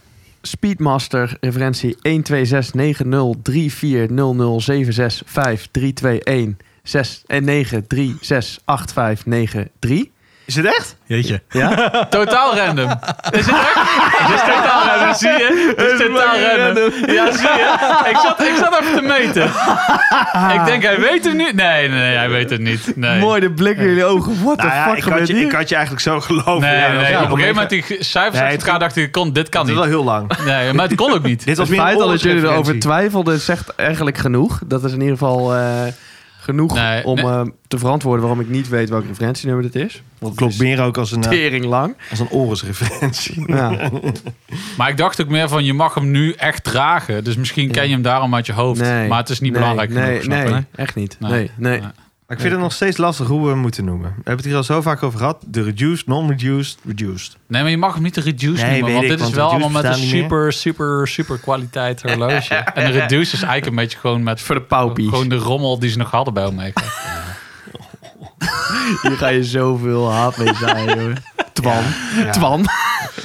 [SPEAKER 2] Speedmaster referentie 126903400765321. en 9368593.
[SPEAKER 7] Is het echt?
[SPEAKER 3] Jeetje.
[SPEAKER 2] Ja?
[SPEAKER 4] Totaal random. Is het ook? Het is totaal random, zie je? Het is totaal random. Ja, zie je? Ik zat, ik zat even te meten. Ik denk, hij weet het niet. Nee, nee, nee, hij weet het niet. Nee.
[SPEAKER 2] Mooi de blik in jullie ogen. What the
[SPEAKER 7] Nou ja,
[SPEAKER 2] fuck
[SPEAKER 7] ik had,
[SPEAKER 2] gebeurt
[SPEAKER 7] je,
[SPEAKER 2] hier?
[SPEAKER 7] ik had je eigenlijk zo geloven.
[SPEAKER 4] Nee,
[SPEAKER 7] Ja,
[SPEAKER 4] nee,
[SPEAKER 7] dat is
[SPEAKER 4] op
[SPEAKER 7] wel
[SPEAKER 4] een gegeven
[SPEAKER 7] leuk.
[SPEAKER 4] moment die g- cijfers
[SPEAKER 7] Nee,
[SPEAKER 4] uit elkaar
[SPEAKER 7] het-
[SPEAKER 4] dacht ik, kon, dit kan
[SPEAKER 7] Dat is
[SPEAKER 4] niet.
[SPEAKER 7] wel heel lang.
[SPEAKER 4] Nee, maar het kon ook niet.
[SPEAKER 7] Dit was
[SPEAKER 2] Het
[SPEAKER 7] meer
[SPEAKER 2] feit al dat
[SPEAKER 7] oorlogsreferentie.
[SPEAKER 2] jullie erover twijfelden, zegt eigenlijk genoeg. Dat is in ieder geval eh, genoeg
[SPEAKER 4] Nee,
[SPEAKER 2] om
[SPEAKER 4] nee.
[SPEAKER 2] eh, te verantwoorden waarom ik niet weet welk referentienummer dit is. Want
[SPEAKER 7] Klopt
[SPEAKER 2] het
[SPEAKER 7] meer ook als een,
[SPEAKER 2] is
[SPEAKER 7] eh,
[SPEAKER 2] tering lang.
[SPEAKER 7] als een oorlogsreferentie.
[SPEAKER 2] Ja.
[SPEAKER 4] Maar ik dacht ook meer van, je mag hem nu echt dragen. Dus misschien ken je hem daarom uit je hoofd.
[SPEAKER 2] Nee,
[SPEAKER 4] maar het is niet
[SPEAKER 2] nee,
[SPEAKER 4] belangrijk
[SPEAKER 2] Nee,
[SPEAKER 4] genoeg, snap
[SPEAKER 2] nee,
[SPEAKER 4] je?
[SPEAKER 2] echt niet.
[SPEAKER 4] Nee,
[SPEAKER 2] Nee, nee.
[SPEAKER 4] nee.
[SPEAKER 7] Maar ik vind het nog steeds lastig hoe we hem moeten noemen. We hebben het hier al zo vaak over gehad. De reduced, non-reduced, reduced.
[SPEAKER 4] Nee, maar je mag hem niet de reduce
[SPEAKER 7] Nee,
[SPEAKER 4] noemen.
[SPEAKER 7] weet
[SPEAKER 4] Want
[SPEAKER 7] ik,
[SPEAKER 4] dit is
[SPEAKER 7] want
[SPEAKER 4] wel
[SPEAKER 7] reduce
[SPEAKER 4] allemaal met een
[SPEAKER 7] bestaan niet
[SPEAKER 4] super, super, super kwaliteit horloge. En de reduce is eigenlijk een beetje gewoon met...
[SPEAKER 2] Voor de paupies.
[SPEAKER 4] Gewoon de rommel die ze nog hadden bij Omega.
[SPEAKER 2] Hier ga je zoveel haat mee zijn, joh. Twan.
[SPEAKER 7] Ja.
[SPEAKER 2] Twan.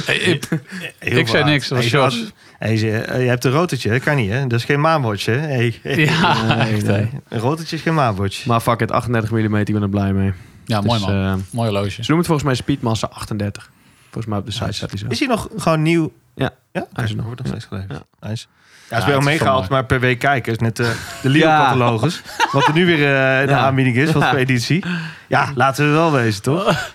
[SPEAKER 4] Hey, ik-
[SPEAKER 7] Heel
[SPEAKER 4] Ik
[SPEAKER 7] veel
[SPEAKER 4] zei
[SPEAKER 7] haat.
[SPEAKER 4] niks, dat was
[SPEAKER 7] Hey,
[SPEAKER 4] Jos.
[SPEAKER 7] Bas, hey, ze- eh, je hebt een rotertje, dat kan niet hè. Dat is geen maanwatch hè. Hey, hey.
[SPEAKER 4] ja,
[SPEAKER 2] Nee,
[SPEAKER 4] echt, hè?
[SPEAKER 2] nee.
[SPEAKER 7] Een rotertje is geen maanwatch.
[SPEAKER 2] Maar fuck het, 38 mm, ik ben er blij mee.
[SPEAKER 4] ja mooi man.
[SPEAKER 2] Dus, eh,
[SPEAKER 4] mooi loge.
[SPEAKER 2] ze noemen het volgens mij Speedmaster 38. Volgens mij op de site staat hij zo.
[SPEAKER 7] Is hij nog gewoon nieuw?
[SPEAKER 2] Ja.
[SPEAKER 7] Ja, oké,
[SPEAKER 2] Hij is er nog.
[SPEAKER 7] wordt nog steeds geleverd. Nice. Ja,
[SPEAKER 4] het
[SPEAKER 7] is
[SPEAKER 4] is wel
[SPEAKER 7] bij Omega
[SPEAKER 4] mooi.
[SPEAKER 7] altijd maar per week kijken. is net eh, de Leo-catalogus. Wat er nu weer eh in de
[SPEAKER 2] Ja.
[SPEAKER 7] aanbieding is, wat voor editie. Ja, laten we wel wezen, toch?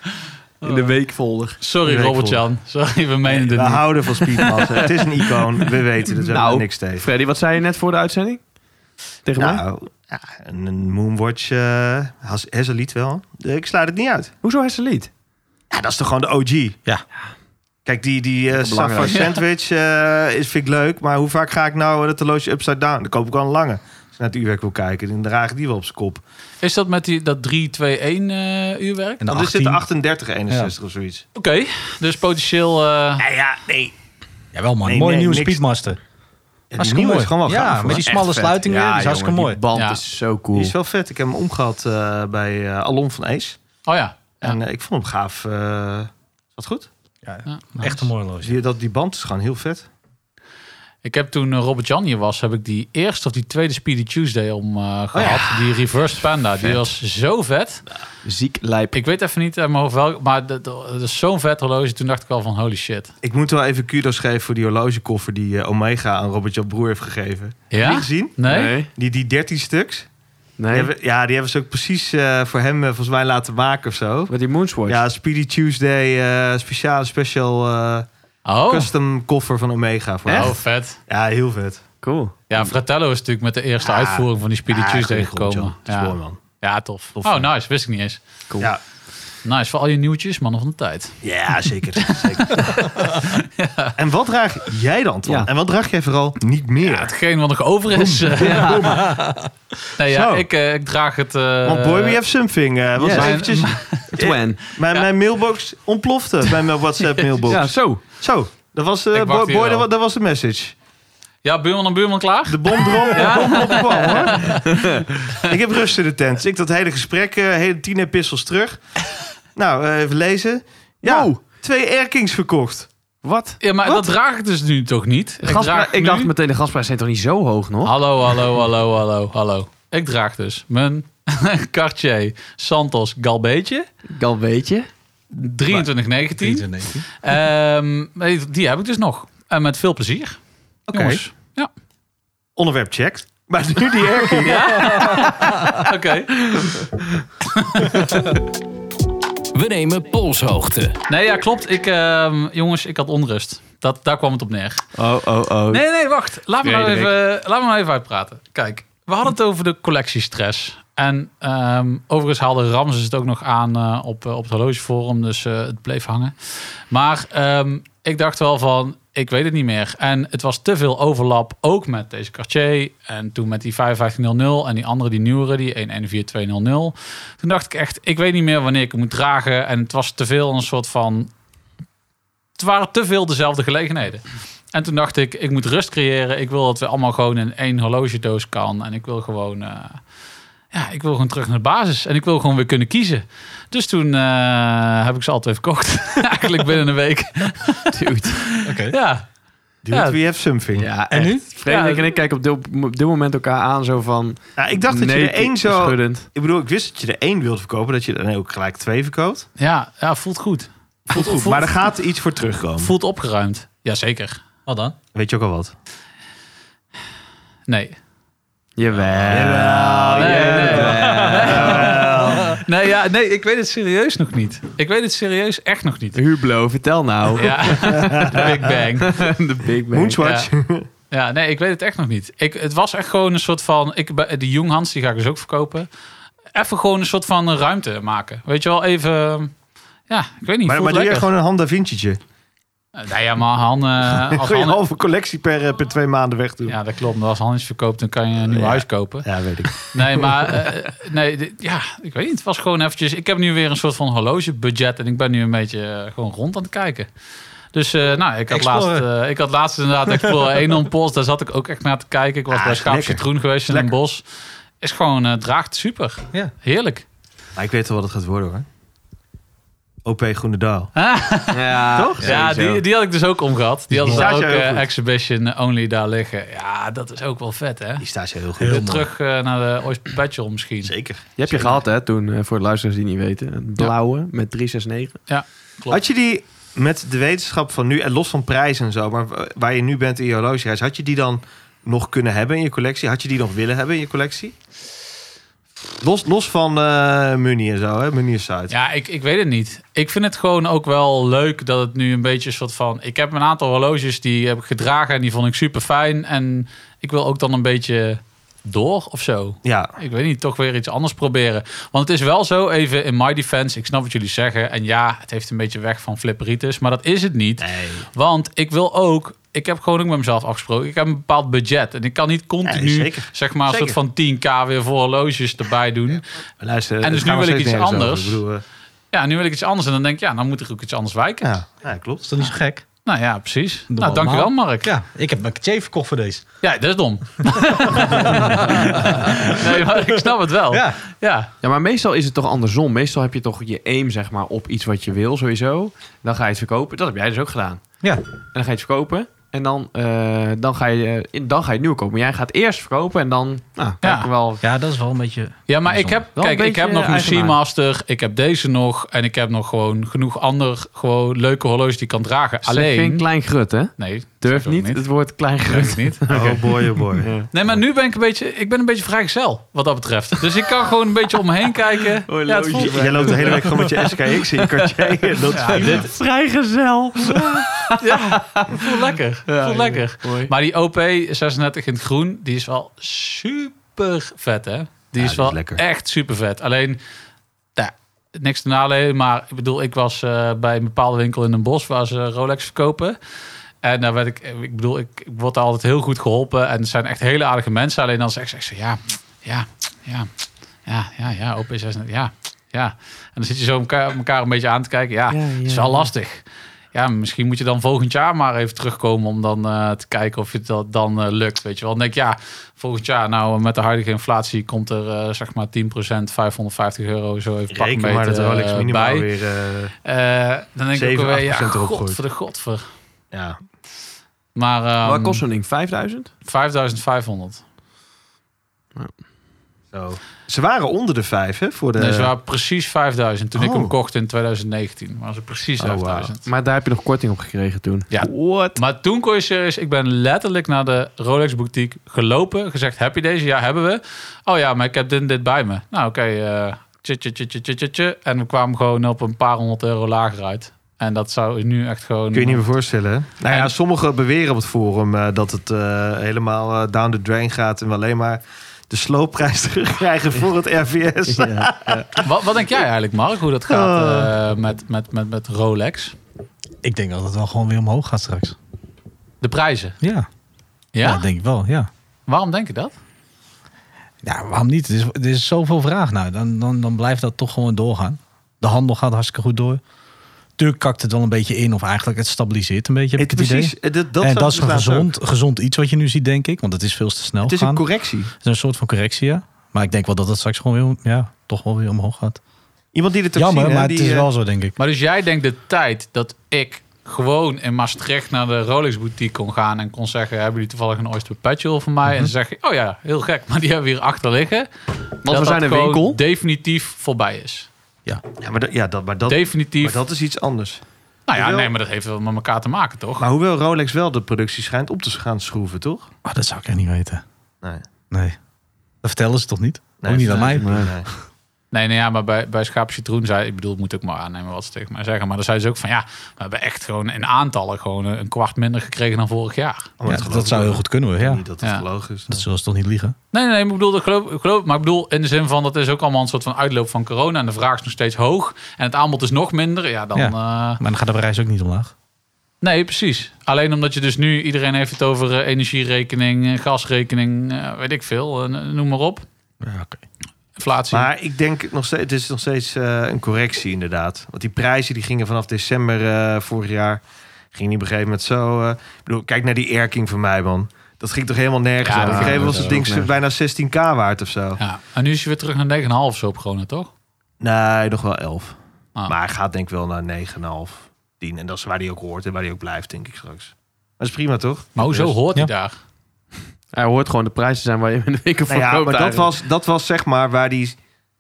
[SPEAKER 2] In de weekvolder.
[SPEAKER 4] Sorry
[SPEAKER 7] Week
[SPEAKER 4] Robert-Jan. Sorry, we menen
[SPEAKER 7] We
[SPEAKER 4] dit niet.
[SPEAKER 7] houden van Speedmaster. het is een icoon, we weten het, we hebben
[SPEAKER 2] Nou,
[SPEAKER 7] er niks tegen.
[SPEAKER 2] Freddy, wat zei je net voor de uitzending? Tegen mij?
[SPEAKER 7] Nou, ja, een een Moonwatch eh has- Hazelied wel. Eh, Ik sluit het niet uit.
[SPEAKER 2] Hoezo is het lied?
[SPEAKER 7] Ja, dat is toch gewoon de OG?
[SPEAKER 3] Ja.
[SPEAKER 7] Kijk, die, die eh Sapphire
[SPEAKER 2] belangrijk.
[SPEAKER 7] Sandwich eh, is, vind ik leuk. Maar hoe vaak ga ik nou dat horloge upside down? Dan koop ik wel een lange. Als ik naar het uurwerk wil kijken, dan draag ik die wel op zijn kop.
[SPEAKER 4] Is dat met die, dat 3-2-1 eh uurwerk?
[SPEAKER 3] En de
[SPEAKER 7] Dan is het
[SPEAKER 3] 18.
[SPEAKER 7] 38, 61 of zoiets.
[SPEAKER 4] Oké, dus potentieel... eh,
[SPEAKER 7] Ja, ja, nee.
[SPEAKER 3] Ja, wel man.
[SPEAKER 7] Nee,
[SPEAKER 3] Mooi
[SPEAKER 7] nee,
[SPEAKER 3] nieuwe
[SPEAKER 7] niks.
[SPEAKER 3] Speedmaster.
[SPEAKER 7] Ja, die
[SPEAKER 3] Hartstikke
[SPEAKER 7] nieuwe
[SPEAKER 3] mooi.
[SPEAKER 7] is gewoon wel
[SPEAKER 3] ja,
[SPEAKER 7] gaaf,
[SPEAKER 3] met
[SPEAKER 7] hoor.
[SPEAKER 3] die smalle
[SPEAKER 2] Echt vet.
[SPEAKER 3] sluiting weer.
[SPEAKER 2] Ja,
[SPEAKER 3] Die is hartstikke
[SPEAKER 2] jongen,
[SPEAKER 3] mooi.
[SPEAKER 2] Die band
[SPEAKER 4] Ja.
[SPEAKER 2] is zo
[SPEAKER 7] Die
[SPEAKER 2] cool.
[SPEAKER 7] is wel vet. Ik heb hem omgehad eh, bij eh, Alon van Ace.
[SPEAKER 4] oh ja. Ja.
[SPEAKER 7] En eh, ik vond hem gaaf. eh wat goed.
[SPEAKER 4] Ja, nice.
[SPEAKER 3] Echt een mooi horloge.
[SPEAKER 7] Zie je dat die band is gewoon heel vet.
[SPEAKER 4] Ik heb toen eh, Robert-Jan hier was, heb ik die eerste of die tweede Speedy Tuesday om
[SPEAKER 7] Oh
[SPEAKER 4] eh, gehad. Die Reverse Panda. Die was zo vet.
[SPEAKER 2] Ziek lijp.
[SPEAKER 4] Ik weet even niet uit mijn hoofd welk, maar dat, dat is zo'n vet horloge. Toen dacht ik wel van holy shit.
[SPEAKER 7] Ik moet wel even kudos geven voor die horlogekoffer die eh, Omega aan Robert-Jan Broer heeft gegeven. Heb je die
[SPEAKER 4] Ja?
[SPEAKER 7] gezien?
[SPEAKER 4] Nee?
[SPEAKER 7] Die, die 13 stuks.
[SPEAKER 2] Nee.
[SPEAKER 7] Die hebben, ja, die hebben ze ook precies eh, voor hem eh, volgens mij laten maken of zo.
[SPEAKER 2] Met die Moonswatch.
[SPEAKER 7] Ja, Speedy Tuesday, eh, speciale special eh,
[SPEAKER 4] Oh.
[SPEAKER 7] custom koffer van Omega. Voor
[SPEAKER 4] oh,
[SPEAKER 7] hem.
[SPEAKER 4] vet.
[SPEAKER 7] Ja, heel vet.
[SPEAKER 2] Cool.
[SPEAKER 4] Ja, Fratello is natuurlijk met de eerste
[SPEAKER 7] Ja.
[SPEAKER 4] uitvoering van die Speedy
[SPEAKER 7] Ja,
[SPEAKER 4] Tuesday
[SPEAKER 7] Ah. goeie grond,
[SPEAKER 4] gekomen.
[SPEAKER 7] John. Dat is mooi,
[SPEAKER 4] Ja.
[SPEAKER 7] man.
[SPEAKER 4] ja, tof.
[SPEAKER 7] Tof,
[SPEAKER 4] Oh,
[SPEAKER 7] man.
[SPEAKER 4] nice. Wist ik niet eens.
[SPEAKER 2] cool.
[SPEAKER 7] Ja.
[SPEAKER 4] Nice, voor al je nieuwtjes, mannen van de tijd.
[SPEAKER 7] Ja, zeker. zeker. En wat draag jij dan, Twan?
[SPEAKER 2] Ja.
[SPEAKER 7] En wat draag jij vooral niet meer?
[SPEAKER 4] Hetgeen wat nog over is. eh, nee,
[SPEAKER 7] Zo.
[SPEAKER 4] ja, ik, eh, ik draag het... eh,
[SPEAKER 7] Want boy, we have something. eh, was
[SPEAKER 2] yes.
[SPEAKER 7] eventjes,
[SPEAKER 2] Twan.
[SPEAKER 7] mijn, mijn mailbox ontplofte bij mijn WhatsApp-mailbox.
[SPEAKER 2] Ja, zo.
[SPEAKER 7] Zo, dat was, eh,
[SPEAKER 4] Ik wacht
[SPEAKER 7] boy,
[SPEAKER 4] hier
[SPEAKER 7] boy,
[SPEAKER 4] al.
[SPEAKER 7] dat, wa- dat was de message.
[SPEAKER 4] Ja, buurman en buurman klaar?
[SPEAKER 7] De bom drop, de bom drop kwam, hoor. ik heb rust in de tent. Dus ik dat hele gesprek, eh, hele tien epistels terug. Nou, eh, even lezen. Ja,
[SPEAKER 2] Wow.
[SPEAKER 7] twee erkings verkocht.
[SPEAKER 2] Wat?
[SPEAKER 4] Ja, maar
[SPEAKER 2] Wat?
[SPEAKER 4] dat draag ik dus nu toch niet? Ik,
[SPEAKER 2] Gaspri-
[SPEAKER 4] draag
[SPEAKER 2] ik
[SPEAKER 4] nu- Ah.
[SPEAKER 2] dacht meteen, de gasprijs zijn toch niet zo hoog nog?
[SPEAKER 4] Hallo, hallo, hallo, hallo, hallo. Ik draag dus mijn Cartier Santos Galbeetje.
[SPEAKER 2] Al weet je.
[SPEAKER 4] 2319. Ehm, nee, die heb ik dus nog. En met veel plezier. Oké. Ja,
[SPEAKER 7] Onderwerp checked. Maar nu die erking.
[SPEAKER 4] oké.
[SPEAKER 5] We nemen polshoogte.
[SPEAKER 4] Nee, ja, klopt. Ik, ehm, jongens, ik had onrust. Dat, daar kwam het op neer.
[SPEAKER 2] Oh, oh, oh.
[SPEAKER 4] Nee, nee, wacht. Laat me, nou
[SPEAKER 7] Frederik.
[SPEAKER 4] even, laat me nou even uitpraten. Kijk, we hadden het over de collectiestress. En ehm, overigens haalde Ramses het ook nog aan eh, op, eh, op het horlogeforum. Dus eh, het bleef hangen. Maar ehm, ik dacht wel van, ik weet het niet meer. En het was te veel overlap, ook met deze Cartier. En toen met die 5500 en die andere, die nieuwere, die 114200. Toen dacht ik echt, ik weet niet meer wanneer ik het moet dragen. En het was te veel een soort van... Het waren te veel dezelfde gelegenheden. En toen dacht ik, ik moet rust creëren. Ik wil dat we allemaal gewoon in één horlogedoos kan. En ik wil gewoon... eh, ja, ik wil gewoon terug naar de basis. En ik wil gewoon weer kunnen kiezen. Dus toen eh, heb ik ze altijd even verkocht. Eigenlijk binnen een week.
[SPEAKER 3] Oké.
[SPEAKER 4] Ja,
[SPEAKER 7] Dude,
[SPEAKER 4] Ja.
[SPEAKER 7] we have something.
[SPEAKER 2] Ja, en nu? Frederik
[SPEAKER 4] Ja,
[SPEAKER 2] en ik kijken op dit, op dit moment elkaar aan zo van...
[SPEAKER 7] Nou, ik dacht dat
[SPEAKER 2] nee,
[SPEAKER 7] je er één zou...
[SPEAKER 2] Schuddend.
[SPEAKER 7] Ik bedoel, ik wist dat je er één wilde verkopen. Dat je er dan ook gelijk twee verkoopt.
[SPEAKER 4] ja, ja voelt goed.
[SPEAKER 7] Voelt goed. Maar er gaat iets voor terugkomen.
[SPEAKER 4] Voelt opgeruimd. Jazeker.
[SPEAKER 3] Wat dan?
[SPEAKER 7] Weet je ook al wat?
[SPEAKER 4] Nee.
[SPEAKER 2] Jawel.
[SPEAKER 4] Nee, nee.
[SPEAKER 7] Jawel.
[SPEAKER 4] Nee, ja, nee, ik weet het serieus nog niet. Ik weet het serieus echt nog niet.
[SPEAKER 2] Hublo, vertel nou.
[SPEAKER 4] Ja, de Big Bang.
[SPEAKER 2] De Big Bang.
[SPEAKER 7] Moonswatch.
[SPEAKER 4] Ja, nee, ik weet het echt nog niet. Ik, het was echt gewoon een soort van... Ik, bij- die Jonghans, die ga ik dus ook verkopen. Even gewoon een soort van ruimte maken. Weet je wel, even... Ja, ik weet niet.
[SPEAKER 7] Maar, maar
[SPEAKER 4] voelt
[SPEAKER 7] doe jij
[SPEAKER 4] lekker.
[SPEAKER 7] gewoon een Han Da Vinci'tje?
[SPEAKER 4] Nee, ja, maar Han... eh, als
[SPEAKER 7] Gooi je
[SPEAKER 4] Han-
[SPEAKER 7] een halve collectie per, eh, per twee maanden weg doen.
[SPEAKER 4] Ja, dat klopt. Maar Als Han iets verkoopt, dan kan je een nieuw
[SPEAKER 7] Ja.
[SPEAKER 4] huis kopen.
[SPEAKER 7] Ja, weet ik.
[SPEAKER 4] Nee, maar eh, nee, dit- ja, ik weet niet. Het was gewoon eventjes. Ik heb nu weer een soort van horlogebudget en ik ben nu een beetje eh, gewoon rond aan het kijken. Dus eh, nou, ik had, laatst,
[SPEAKER 3] Explorer.
[SPEAKER 4] eh, ik had laatst inderdaad Explorer 1 on pols. Daar zat ik ook echt naar te kijken. Ik was
[SPEAKER 7] Ah,
[SPEAKER 4] bij
[SPEAKER 7] is
[SPEAKER 4] Schaap
[SPEAKER 7] lekker.
[SPEAKER 4] Citroen geweest in een bos. Is gewoon, eh, draagt super.
[SPEAKER 3] Ja.
[SPEAKER 4] Heerlijk.
[SPEAKER 7] Maar ik weet wel wat het gaat worden hoor. OP Groenendaal.
[SPEAKER 2] Ja,
[SPEAKER 7] Toch?
[SPEAKER 4] Ja,
[SPEAKER 2] sowieso.
[SPEAKER 4] die, die had ik dus ook omgehad. Die hadden
[SPEAKER 7] Die
[SPEAKER 4] daar ook
[SPEAKER 7] staat jou heel
[SPEAKER 4] eh,
[SPEAKER 7] goed.
[SPEAKER 4] Exhibition Only daar liggen. Ja, dat is ook wel vet, hè?
[SPEAKER 7] Die staat je heel goed.
[SPEAKER 3] Heel
[SPEAKER 4] Weer
[SPEAKER 3] mooi.
[SPEAKER 4] terug eh, naar de Oyster Petrol misschien.
[SPEAKER 7] Zeker.
[SPEAKER 2] Je hebt je gehad, hè, toen, eh, voor de luisteraars die niet weten. Een blauwe met 369.
[SPEAKER 4] Klopt.
[SPEAKER 7] Had je die met de wetenschap van nu, en los van prijs en zo, maar wa- waar je nu bent in je horlogereis, had je die dan nog kunnen hebben in je collectie? Had je die nog willen hebben in je collectie? Los, los van eh Muni en zo, hè? Muni site.
[SPEAKER 4] Ja, ik, ik weet het niet. Ik vind het gewoon ook wel leuk dat het nu een beetje een soort van... Ik heb een aantal horloges die heb ik gedragen en die vond ik super fijn. En ik wil ook dan een beetje door of zo.
[SPEAKER 7] Ja.
[SPEAKER 4] Ik weet niet, toch weer iets anders proberen. Want het is wel zo, even in my defense, ik snap wat jullie zeggen. En ja, het heeft een beetje weg van flipperitis, maar dat is het niet. Want ik wil ook, ik heb gewoon ook met mezelf afgesproken, ik heb een bepaald budget. En ik kan niet continu,
[SPEAKER 7] Ja, zeker.
[SPEAKER 4] zeg maar, een soort
[SPEAKER 7] Zeker.
[SPEAKER 4] van 10k weer voor horloges erbij doen.
[SPEAKER 7] Maar Luister,
[SPEAKER 4] En dus
[SPEAKER 7] het gaat
[SPEAKER 4] nu wil
[SPEAKER 7] nog
[SPEAKER 4] ik
[SPEAKER 7] steeds nergens
[SPEAKER 4] iets anders.
[SPEAKER 7] over. Ik bedoel, eh,
[SPEAKER 4] Ja, nu wil ik iets anders. En dan denk ik, ja, dan moet ik ook iets anders wijken.
[SPEAKER 7] ja. ja, klopt.
[SPEAKER 3] Is dat niet zo gek?
[SPEAKER 4] Nou ja, precies.
[SPEAKER 3] Doe
[SPEAKER 4] nou,
[SPEAKER 3] allemaal.
[SPEAKER 4] dankjewel Mark. Ja.
[SPEAKER 3] Ja, ik heb mijn J verkocht voor deze.
[SPEAKER 4] dat is dom. nee, maar ik snap het
[SPEAKER 7] Oh.
[SPEAKER 4] wel. Ja.
[SPEAKER 3] Ja.
[SPEAKER 2] Ja, maar meestal is het toch andersom. Meestal heb je toch je aim, zeg maar, op iets wat je wil, sowieso. Dan ga je het verkopen. Dat heb jij dus ook gedaan.
[SPEAKER 3] Ja.
[SPEAKER 2] En dan ga je het verkopen. En dan, eh, dan, ga je, eh, in- dan ga je het nieuwe kopen. Maar jij gaat eerst verkopen en dan... Nou, kijk
[SPEAKER 4] Ja.
[SPEAKER 2] wel...
[SPEAKER 3] Ja, dat is wel een beetje...
[SPEAKER 4] Ja, maar ik
[SPEAKER 3] Zonde.
[SPEAKER 4] heb,
[SPEAKER 2] Wel een
[SPEAKER 4] kijk, ik
[SPEAKER 2] beetje eh,
[SPEAKER 4] heb nog een
[SPEAKER 2] eigenaar.
[SPEAKER 4] Seamaster. Ik heb deze nog. En ik heb nog gewoon genoeg ander, gewoon leuke horloges die ik kan dragen.
[SPEAKER 2] Alleen...
[SPEAKER 4] Alleen...
[SPEAKER 2] Geen klein grut, hè?
[SPEAKER 4] Nee,
[SPEAKER 2] Durf niet,
[SPEAKER 4] niet.
[SPEAKER 2] het woord klein grut.
[SPEAKER 4] Durf niet.
[SPEAKER 7] Oh boy, oh boy.
[SPEAKER 4] Nee, maar nu ben ik een beetje, ik ben een beetje vrijgezel wat dat betreft. Dus ik kan gewoon een beetje om me heen kijken. Ja, het voelt,
[SPEAKER 7] J- Jij loopt de hele week gewoon met je SKX in je Cartier. en Dat
[SPEAKER 4] ja, dit,
[SPEAKER 2] Vrijgezel.
[SPEAKER 4] ja, het voelt lekker. Het voelt lekker.
[SPEAKER 2] Mooi.
[SPEAKER 4] Maar die OP 36 in het groen, die is wel super vet, hè? Die is
[SPEAKER 7] die
[SPEAKER 4] wel
[SPEAKER 7] is lekker.
[SPEAKER 4] echt super vet. Alleen, ja, niks te naleven, maar ik bedoel, ik was eh, bij een bepaalde winkel in een bos waar ze Rolex verkopen. En daar werd ik, ik bedoel, ik, ik word daar altijd heel goed geholpen. En het zijn echt hele aardige mensen. Alleen dan zeg ik zo, ja, ja, ja, ja, ja, ja, OP36, ja, ja. En dan zit je zo elkaar, elkaar een beetje aan te kijken. Ja,
[SPEAKER 2] Ja,
[SPEAKER 4] het is
[SPEAKER 2] ja,
[SPEAKER 4] wel
[SPEAKER 2] ja.
[SPEAKER 4] lastig. Ja, misschien moet je dan volgend jaar maar even terugkomen om dan eh, te kijken of je dat dan eh, lukt. Weet je wel, dan denk ik, ja, volgend jaar, nou eh, met de huidige inflatie komt er eh, zeg maar 10%, 550 euro zo
[SPEAKER 7] Reken
[SPEAKER 4] even pakken eh,
[SPEAKER 7] maar dat Rolex minimaal
[SPEAKER 4] bij.
[SPEAKER 7] weer... eh,
[SPEAKER 4] Eh, dan denk ik
[SPEAKER 7] 7,
[SPEAKER 4] ook alweer, ja,
[SPEAKER 7] 8% erop
[SPEAKER 4] godver de godver.
[SPEAKER 7] ja.
[SPEAKER 4] Maar ehm,
[SPEAKER 2] Wat kost zo'n ding? 5000?
[SPEAKER 4] 5500.
[SPEAKER 7] Zo. Ze waren onder de vijf, hè? Voor de...
[SPEAKER 4] Nee, ze waren precies 5000 toen ik hem
[SPEAKER 7] Oh.
[SPEAKER 4] kocht in 2019. Waren ze precies
[SPEAKER 7] Oh, wauw.
[SPEAKER 4] 5000.
[SPEAKER 2] Maar daar heb je nog korting op gekregen toen.
[SPEAKER 4] Ja.
[SPEAKER 2] What?
[SPEAKER 4] Maar toen kon je serieus... Ik ben letterlijk naar de Rolex boutique gelopen. Gezegd, heb je deze? Ja, hebben we. Oh ja, maar ik heb dit en dit bij me. Nou, oké. eh, tje, tje, tje, tje, tje, tje, tje. En we kwamen gewoon op een paar honderd euro lager uit. En dat zou nu echt gewoon...
[SPEAKER 7] Kun je niet meer voorstellen. hè? Nou ja,
[SPEAKER 4] En-
[SPEAKER 7] sommigen beweren op het forum eh, dat het eh, helemaal eh, down the drain gaat en we alleen maar de sloopprijs terugkrijgen voor het RVS.
[SPEAKER 4] Eh, wat, wat denk jij eigenlijk, Mark? Hoe dat gaat
[SPEAKER 7] Oh.
[SPEAKER 4] eh, met, met, met, met Rolex?
[SPEAKER 3] Ik denk dat het wel gewoon weer omhoog gaat straks.
[SPEAKER 4] De prijzen.
[SPEAKER 3] Ja,
[SPEAKER 4] Ja?
[SPEAKER 3] dat denk ik wel, ja.
[SPEAKER 4] Waarom denk je dat?
[SPEAKER 3] Ja, waarom niet? Er is, er is zoveel vraag nou. Dan, dan, dan blijft dat toch gewoon doorgaan. De handel gaat hartstikke goed door. Tuurlijk kakt het wel een beetje in. Of eigenlijk het stabiliseert een beetje, heb ik
[SPEAKER 7] Het-
[SPEAKER 3] het
[SPEAKER 7] precies,
[SPEAKER 3] idee.
[SPEAKER 7] eh, dat, dat
[SPEAKER 3] en
[SPEAKER 7] zag
[SPEAKER 3] dat
[SPEAKER 7] ik
[SPEAKER 3] is een
[SPEAKER 7] laatst ook.
[SPEAKER 3] gezond, gezond iets wat je nu ziet, denk ik. Want het is veel te snel
[SPEAKER 7] Het is
[SPEAKER 3] gaan.
[SPEAKER 7] een correctie.
[SPEAKER 3] Het is een soort van correctie, ja. Maar ik denk wel dat het straks gewoon weer, ja, toch wel weer omhoog gaat.
[SPEAKER 7] Iemand die dit ook
[SPEAKER 3] Jammer,
[SPEAKER 7] zien, hè,
[SPEAKER 3] maar
[SPEAKER 7] die,
[SPEAKER 3] het is
[SPEAKER 7] eh,
[SPEAKER 3] wel zo, denk ik.
[SPEAKER 4] Maar dus jij denkt de tijd dat ik gewoon in Maastricht naar de Rolex boutique kon gaan en kon zeggen: Hebben jullie toevallig een Oyster Perpetual voor mij? En ze zeggen: Oh ja, heel gek, maar die hebben we hier achter liggen. Want
[SPEAKER 2] we zijn een winkel.
[SPEAKER 4] Definitief voorbij is.
[SPEAKER 7] eh, ja, maar dat, ja, dat, maar dat, maar
[SPEAKER 4] definitief.
[SPEAKER 7] dat is iets anders.
[SPEAKER 4] nou ja,
[SPEAKER 7] Jawel.
[SPEAKER 4] nee, maar dat heeft wel met elkaar te maken, toch?
[SPEAKER 7] Maar hoewel Rolex wel de productie schijnt op te gaan schroeven, toch?
[SPEAKER 3] Oh, dat zou ik echt niet weten.
[SPEAKER 7] Nee.
[SPEAKER 3] Nee. Dat vertellen ze toch niet?
[SPEAKER 7] Nee,
[SPEAKER 3] Ook niet aan
[SPEAKER 7] nee,
[SPEAKER 3] mij.
[SPEAKER 7] nee.
[SPEAKER 4] Nee, nee, ja, maar bij, bij Schaap Citroen zei ik bedoel, moet ik maar aannemen wat ze tegen mij zeggen. Maar dan zei ze ook van ja, we hebben echt gewoon in aantallen gewoon een kwart minder gekregen dan vorig jaar.
[SPEAKER 7] Oh, maar
[SPEAKER 3] Ja,
[SPEAKER 7] dat
[SPEAKER 3] dat,
[SPEAKER 7] geloof
[SPEAKER 3] zou
[SPEAKER 7] ik
[SPEAKER 3] heel goed kunnen, hoor.
[SPEAKER 7] Ja.
[SPEAKER 3] Ja.
[SPEAKER 7] Niet dat het
[SPEAKER 4] Ja.
[SPEAKER 7] gelogen is.
[SPEAKER 3] Dat zullen ze toch niet liegen?
[SPEAKER 4] Nee, nee, nee, maar ik bedoel, dat geloof, ik geloof, maar ik bedoel in de zin van dat is ook allemaal een soort van uitloop van corona en de vraag is nog steeds hoog en het aanbod is nog minder. Ja, dan.
[SPEAKER 3] Ja.
[SPEAKER 4] eh,
[SPEAKER 3] Maar dan gaat de prijs ook niet omlaag.
[SPEAKER 4] nee, precies. Alleen omdat je dus nu iedereen heeft het over eh, energierekening, eh, gasrekening, eh, weet ik veel, eh, noem maar op,
[SPEAKER 3] Ja, oké.
[SPEAKER 4] inflatie.
[SPEAKER 7] Maar ik denk nog steeds, het is nog steeds eh, een correctie inderdaad. Want die prijzen die gingen vanaf december eh, vorig jaar, ging die op een gegeven moment zo. eh, ik bedoel, kijk naar die erking van mij man. Dat ging toch helemaal nergens.
[SPEAKER 4] Ja,
[SPEAKER 7] aan. Op een
[SPEAKER 4] dat
[SPEAKER 7] gegeven
[SPEAKER 2] ging
[SPEAKER 7] moment was het
[SPEAKER 2] ook
[SPEAKER 7] ding stuk bijna 16k waard of zo.
[SPEAKER 4] ja. En nu is je weer terug naar 9,5 of zo op corona, toch?
[SPEAKER 7] Nee, nog wel 11.
[SPEAKER 4] Ah.
[SPEAKER 7] Maar hij gaat denk ik wel naar 9,5, 10. En dat is waar hij ook hoort en waar hij ook blijft, denk ik straks. Dat is prima toch?
[SPEAKER 4] Maar hoezo
[SPEAKER 7] Dus-
[SPEAKER 4] hoort hij
[SPEAKER 3] Ja.
[SPEAKER 4] daar?
[SPEAKER 2] Hij hoort gewoon de prijzen zijn waar je hem in de winkel voor
[SPEAKER 7] Nou ja,
[SPEAKER 2] koopt
[SPEAKER 7] maar dat
[SPEAKER 2] eigenlijk.
[SPEAKER 7] was, dat was zeg maar waar die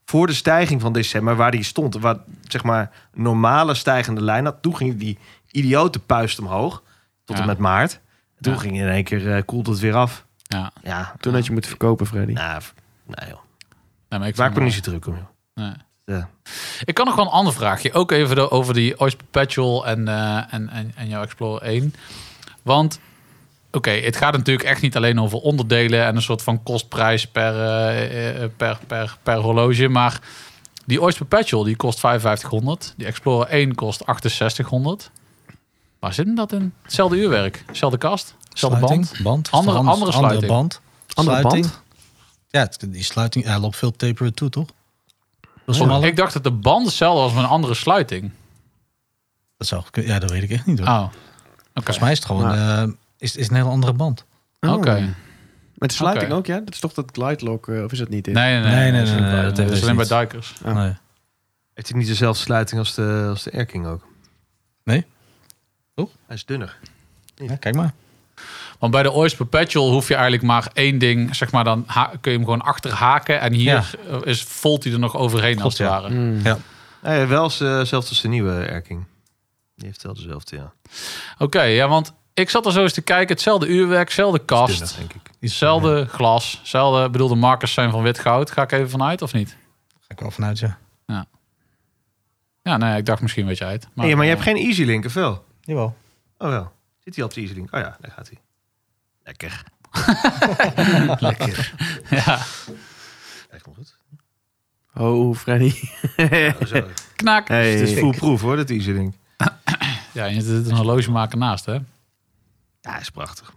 [SPEAKER 7] voor de stijging van december, waar die stond, waar zeg maar normale stijgende lijn had. Toen ging die idiote puist omhoog tot
[SPEAKER 4] Ja.
[SPEAKER 7] en met maart. Toen
[SPEAKER 4] Ja.
[SPEAKER 7] ging in één keer eh koelt het weer af.
[SPEAKER 4] Ja.
[SPEAKER 7] Ja,
[SPEAKER 2] Toen had je moeten verkopen, Freddy.
[SPEAKER 7] nou, f- nou joh.
[SPEAKER 4] Nee, maar ik
[SPEAKER 7] Ik maak
[SPEAKER 4] vind
[SPEAKER 7] me
[SPEAKER 4] wel-
[SPEAKER 7] niet zo druk om joh.
[SPEAKER 4] Nee.
[SPEAKER 7] Ja.
[SPEAKER 4] Ik kan nog wel een ander vraagje. Ook even de- over die Oyster Perpetual en, eh, en, en, en jouw Explorer 1. Want, oké, het gaat natuurlijk echt niet alleen over onderdelen... en een soort van kostprijs per, eh, eh, per, per, per horloge. Maar die Oyster Perpetual die kost 5500. Die Explorer 1 kost 6800. Waar zit hem dat in? Hetzelfde uurwerk, hetzelfde kast, hetzelfde band.
[SPEAKER 3] Sluiting, band.
[SPEAKER 4] Andere-
[SPEAKER 3] Anders-
[SPEAKER 4] andere sluiting.
[SPEAKER 3] band.
[SPEAKER 2] Andere
[SPEAKER 3] Sluiting.
[SPEAKER 2] band?
[SPEAKER 3] Ja, het- die sluiting, hij loopt veel taper toe, toch? Dat, is
[SPEAKER 4] Want
[SPEAKER 3] smaller.
[SPEAKER 4] Ik dacht dat de band hetzelfde was met een andere sluiting.
[SPEAKER 3] dat zou goed kunnen. Ja, dat weet ik echt niet, hoor.
[SPEAKER 4] Oh, oké.
[SPEAKER 3] Volgens mij Oh. is het gewoon eh, is, is een hele andere band.
[SPEAKER 4] Oké.
[SPEAKER 2] Oh. Met de sluiting
[SPEAKER 4] Oké.
[SPEAKER 2] ook, ja? Dat is toch dat glidelock, eh, of is dat niet? dit?
[SPEAKER 4] Nee, nee,
[SPEAKER 3] Nee, nee,
[SPEAKER 4] nee.
[SPEAKER 3] nee,
[SPEAKER 4] dat is
[SPEAKER 3] nee,
[SPEAKER 4] alleen
[SPEAKER 3] dat
[SPEAKER 4] bij-
[SPEAKER 3] heeft
[SPEAKER 4] dat is alleen bij
[SPEAKER 3] dus
[SPEAKER 4] duikers.
[SPEAKER 2] Ah.
[SPEAKER 3] Nee.
[SPEAKER 7] Heeft hij niet dezelfde sluiting als de, als de Erking ook?
[SPEAKER 3] Nee?
[SPEAKER 7] Hij is dunner.
[SPEAKER 3] Ja, kijk maar.
[SPEAKER 4] Want bij de Oyster Perpetual hoef je eigenlijk maar één ding, zeg maar, dan ha- kun je hem gewoon achterhaken. En hier eh, is, volt hij er nog overheen als het
[SPEAKER 3] ja.
[SPEAKER 4] ware.
[SPEAKER 2] Hmm.
[SPEAKER 3] Ja.
[SPEAKER 7] Nou ja, wel z- eh, zelfs als de nieuwe Erking. Die heeft wel dezelfde, ja.
[SPEAKER 4] Oké, ja, want ik zat er zo eens te kijken. Hetzelfde uurwerk, hetzelfde
[SPEAKER 7] Dunner,
[SPEAKER 4] kast,
[SPEAKER 7] denk ik.
[SPEAKER 4] hetzelfde glas, hetzelfde, ik bedoel, de markers zijn van wit goud. Ga ik even vanuit, of niet?
[SPEAKER 3] Ga ik wel vanuit, ja.
[SPEAKER 4] Ja, nee, ik dacht misschien weet jij het. eh,
[SPEAKER 7] Maar, nee, maar je hebt geen Easy Link, of wel?
[SPEAKER 3] Jawel.
[SPEAKER 7] Oh wel. Zit hij op de EasyLink? Oh ja, daar gaat hij. Lekker. Lekker.
[SPEAKER 4] Ja.
[SPEAKER 7] Echt wel goed.
[SPEAKER 2] Oh, Freddy.
[SPEAKER 4] Knak.
[SPEAKER 7] Hey, het is
[SPEAKER 2] Hey.
[SPEAKER 7] foolproof hoor, dat easy ding.
[SPEAKER 4] Ja, en er zit een horlogemaker naast, hè?
[SPEAKER 7] Ja, is prachtig.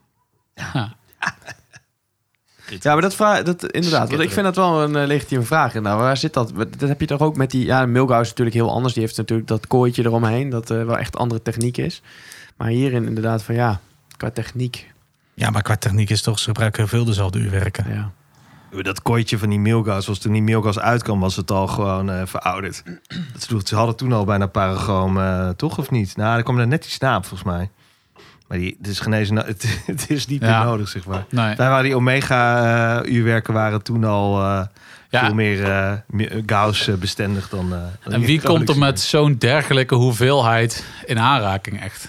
[SPEAKER 2] Ja, maar dat vraag, dat inderdaad. Want ik vind dat wel een eh, legitieme vraag. Nou, waar zit dat? Wat- Dat heb je toch ook met die. Ja, Milgauw is natuurlijk heel anders. Die heeft natuurlijk dat kooitje eromheen, dat eh, wel echt andere techniek is. Maar hierin inderdaad van ja, qua techniek.
[SPEAKER 3] Ja, maar qua techniek is toch, ze gebruiken heel veel dezelfde uurwerken.
[SPEAKER 2] Ja.
[SPEAKER 7] Dat kooitje van die Milgas, was toen die Milgas uitkwam, was het al gewoon eh, verouderd. Dat ze, doen- ze hadden toen al bijna paragoom, eh, toch of niet? Nou, er kwam er net die snaap volgens mij. Maar die, het is genezen, het, het is niet
[SPEAKER 4] Ja.
[SPEAKER 7] meer nodig, zeg maar.
[SPEAKER 4] Nee.
[SPEAKER 7] Daar waren die Omega-uurwerken waren toen al eh,
[SPEAKER 4] Ja.
[SPEAKER 7] veel meer eh, mi- Gauss-bestendig dan... eh, dan
[SPEAKER 4] En
[SPEAKER 7] die
[SPEAKER 4] wie komt er
[SPEAKER 7] productie.
[SPEAKER 4] met zo'n dergelijke hoeveelheid in aanraking echt?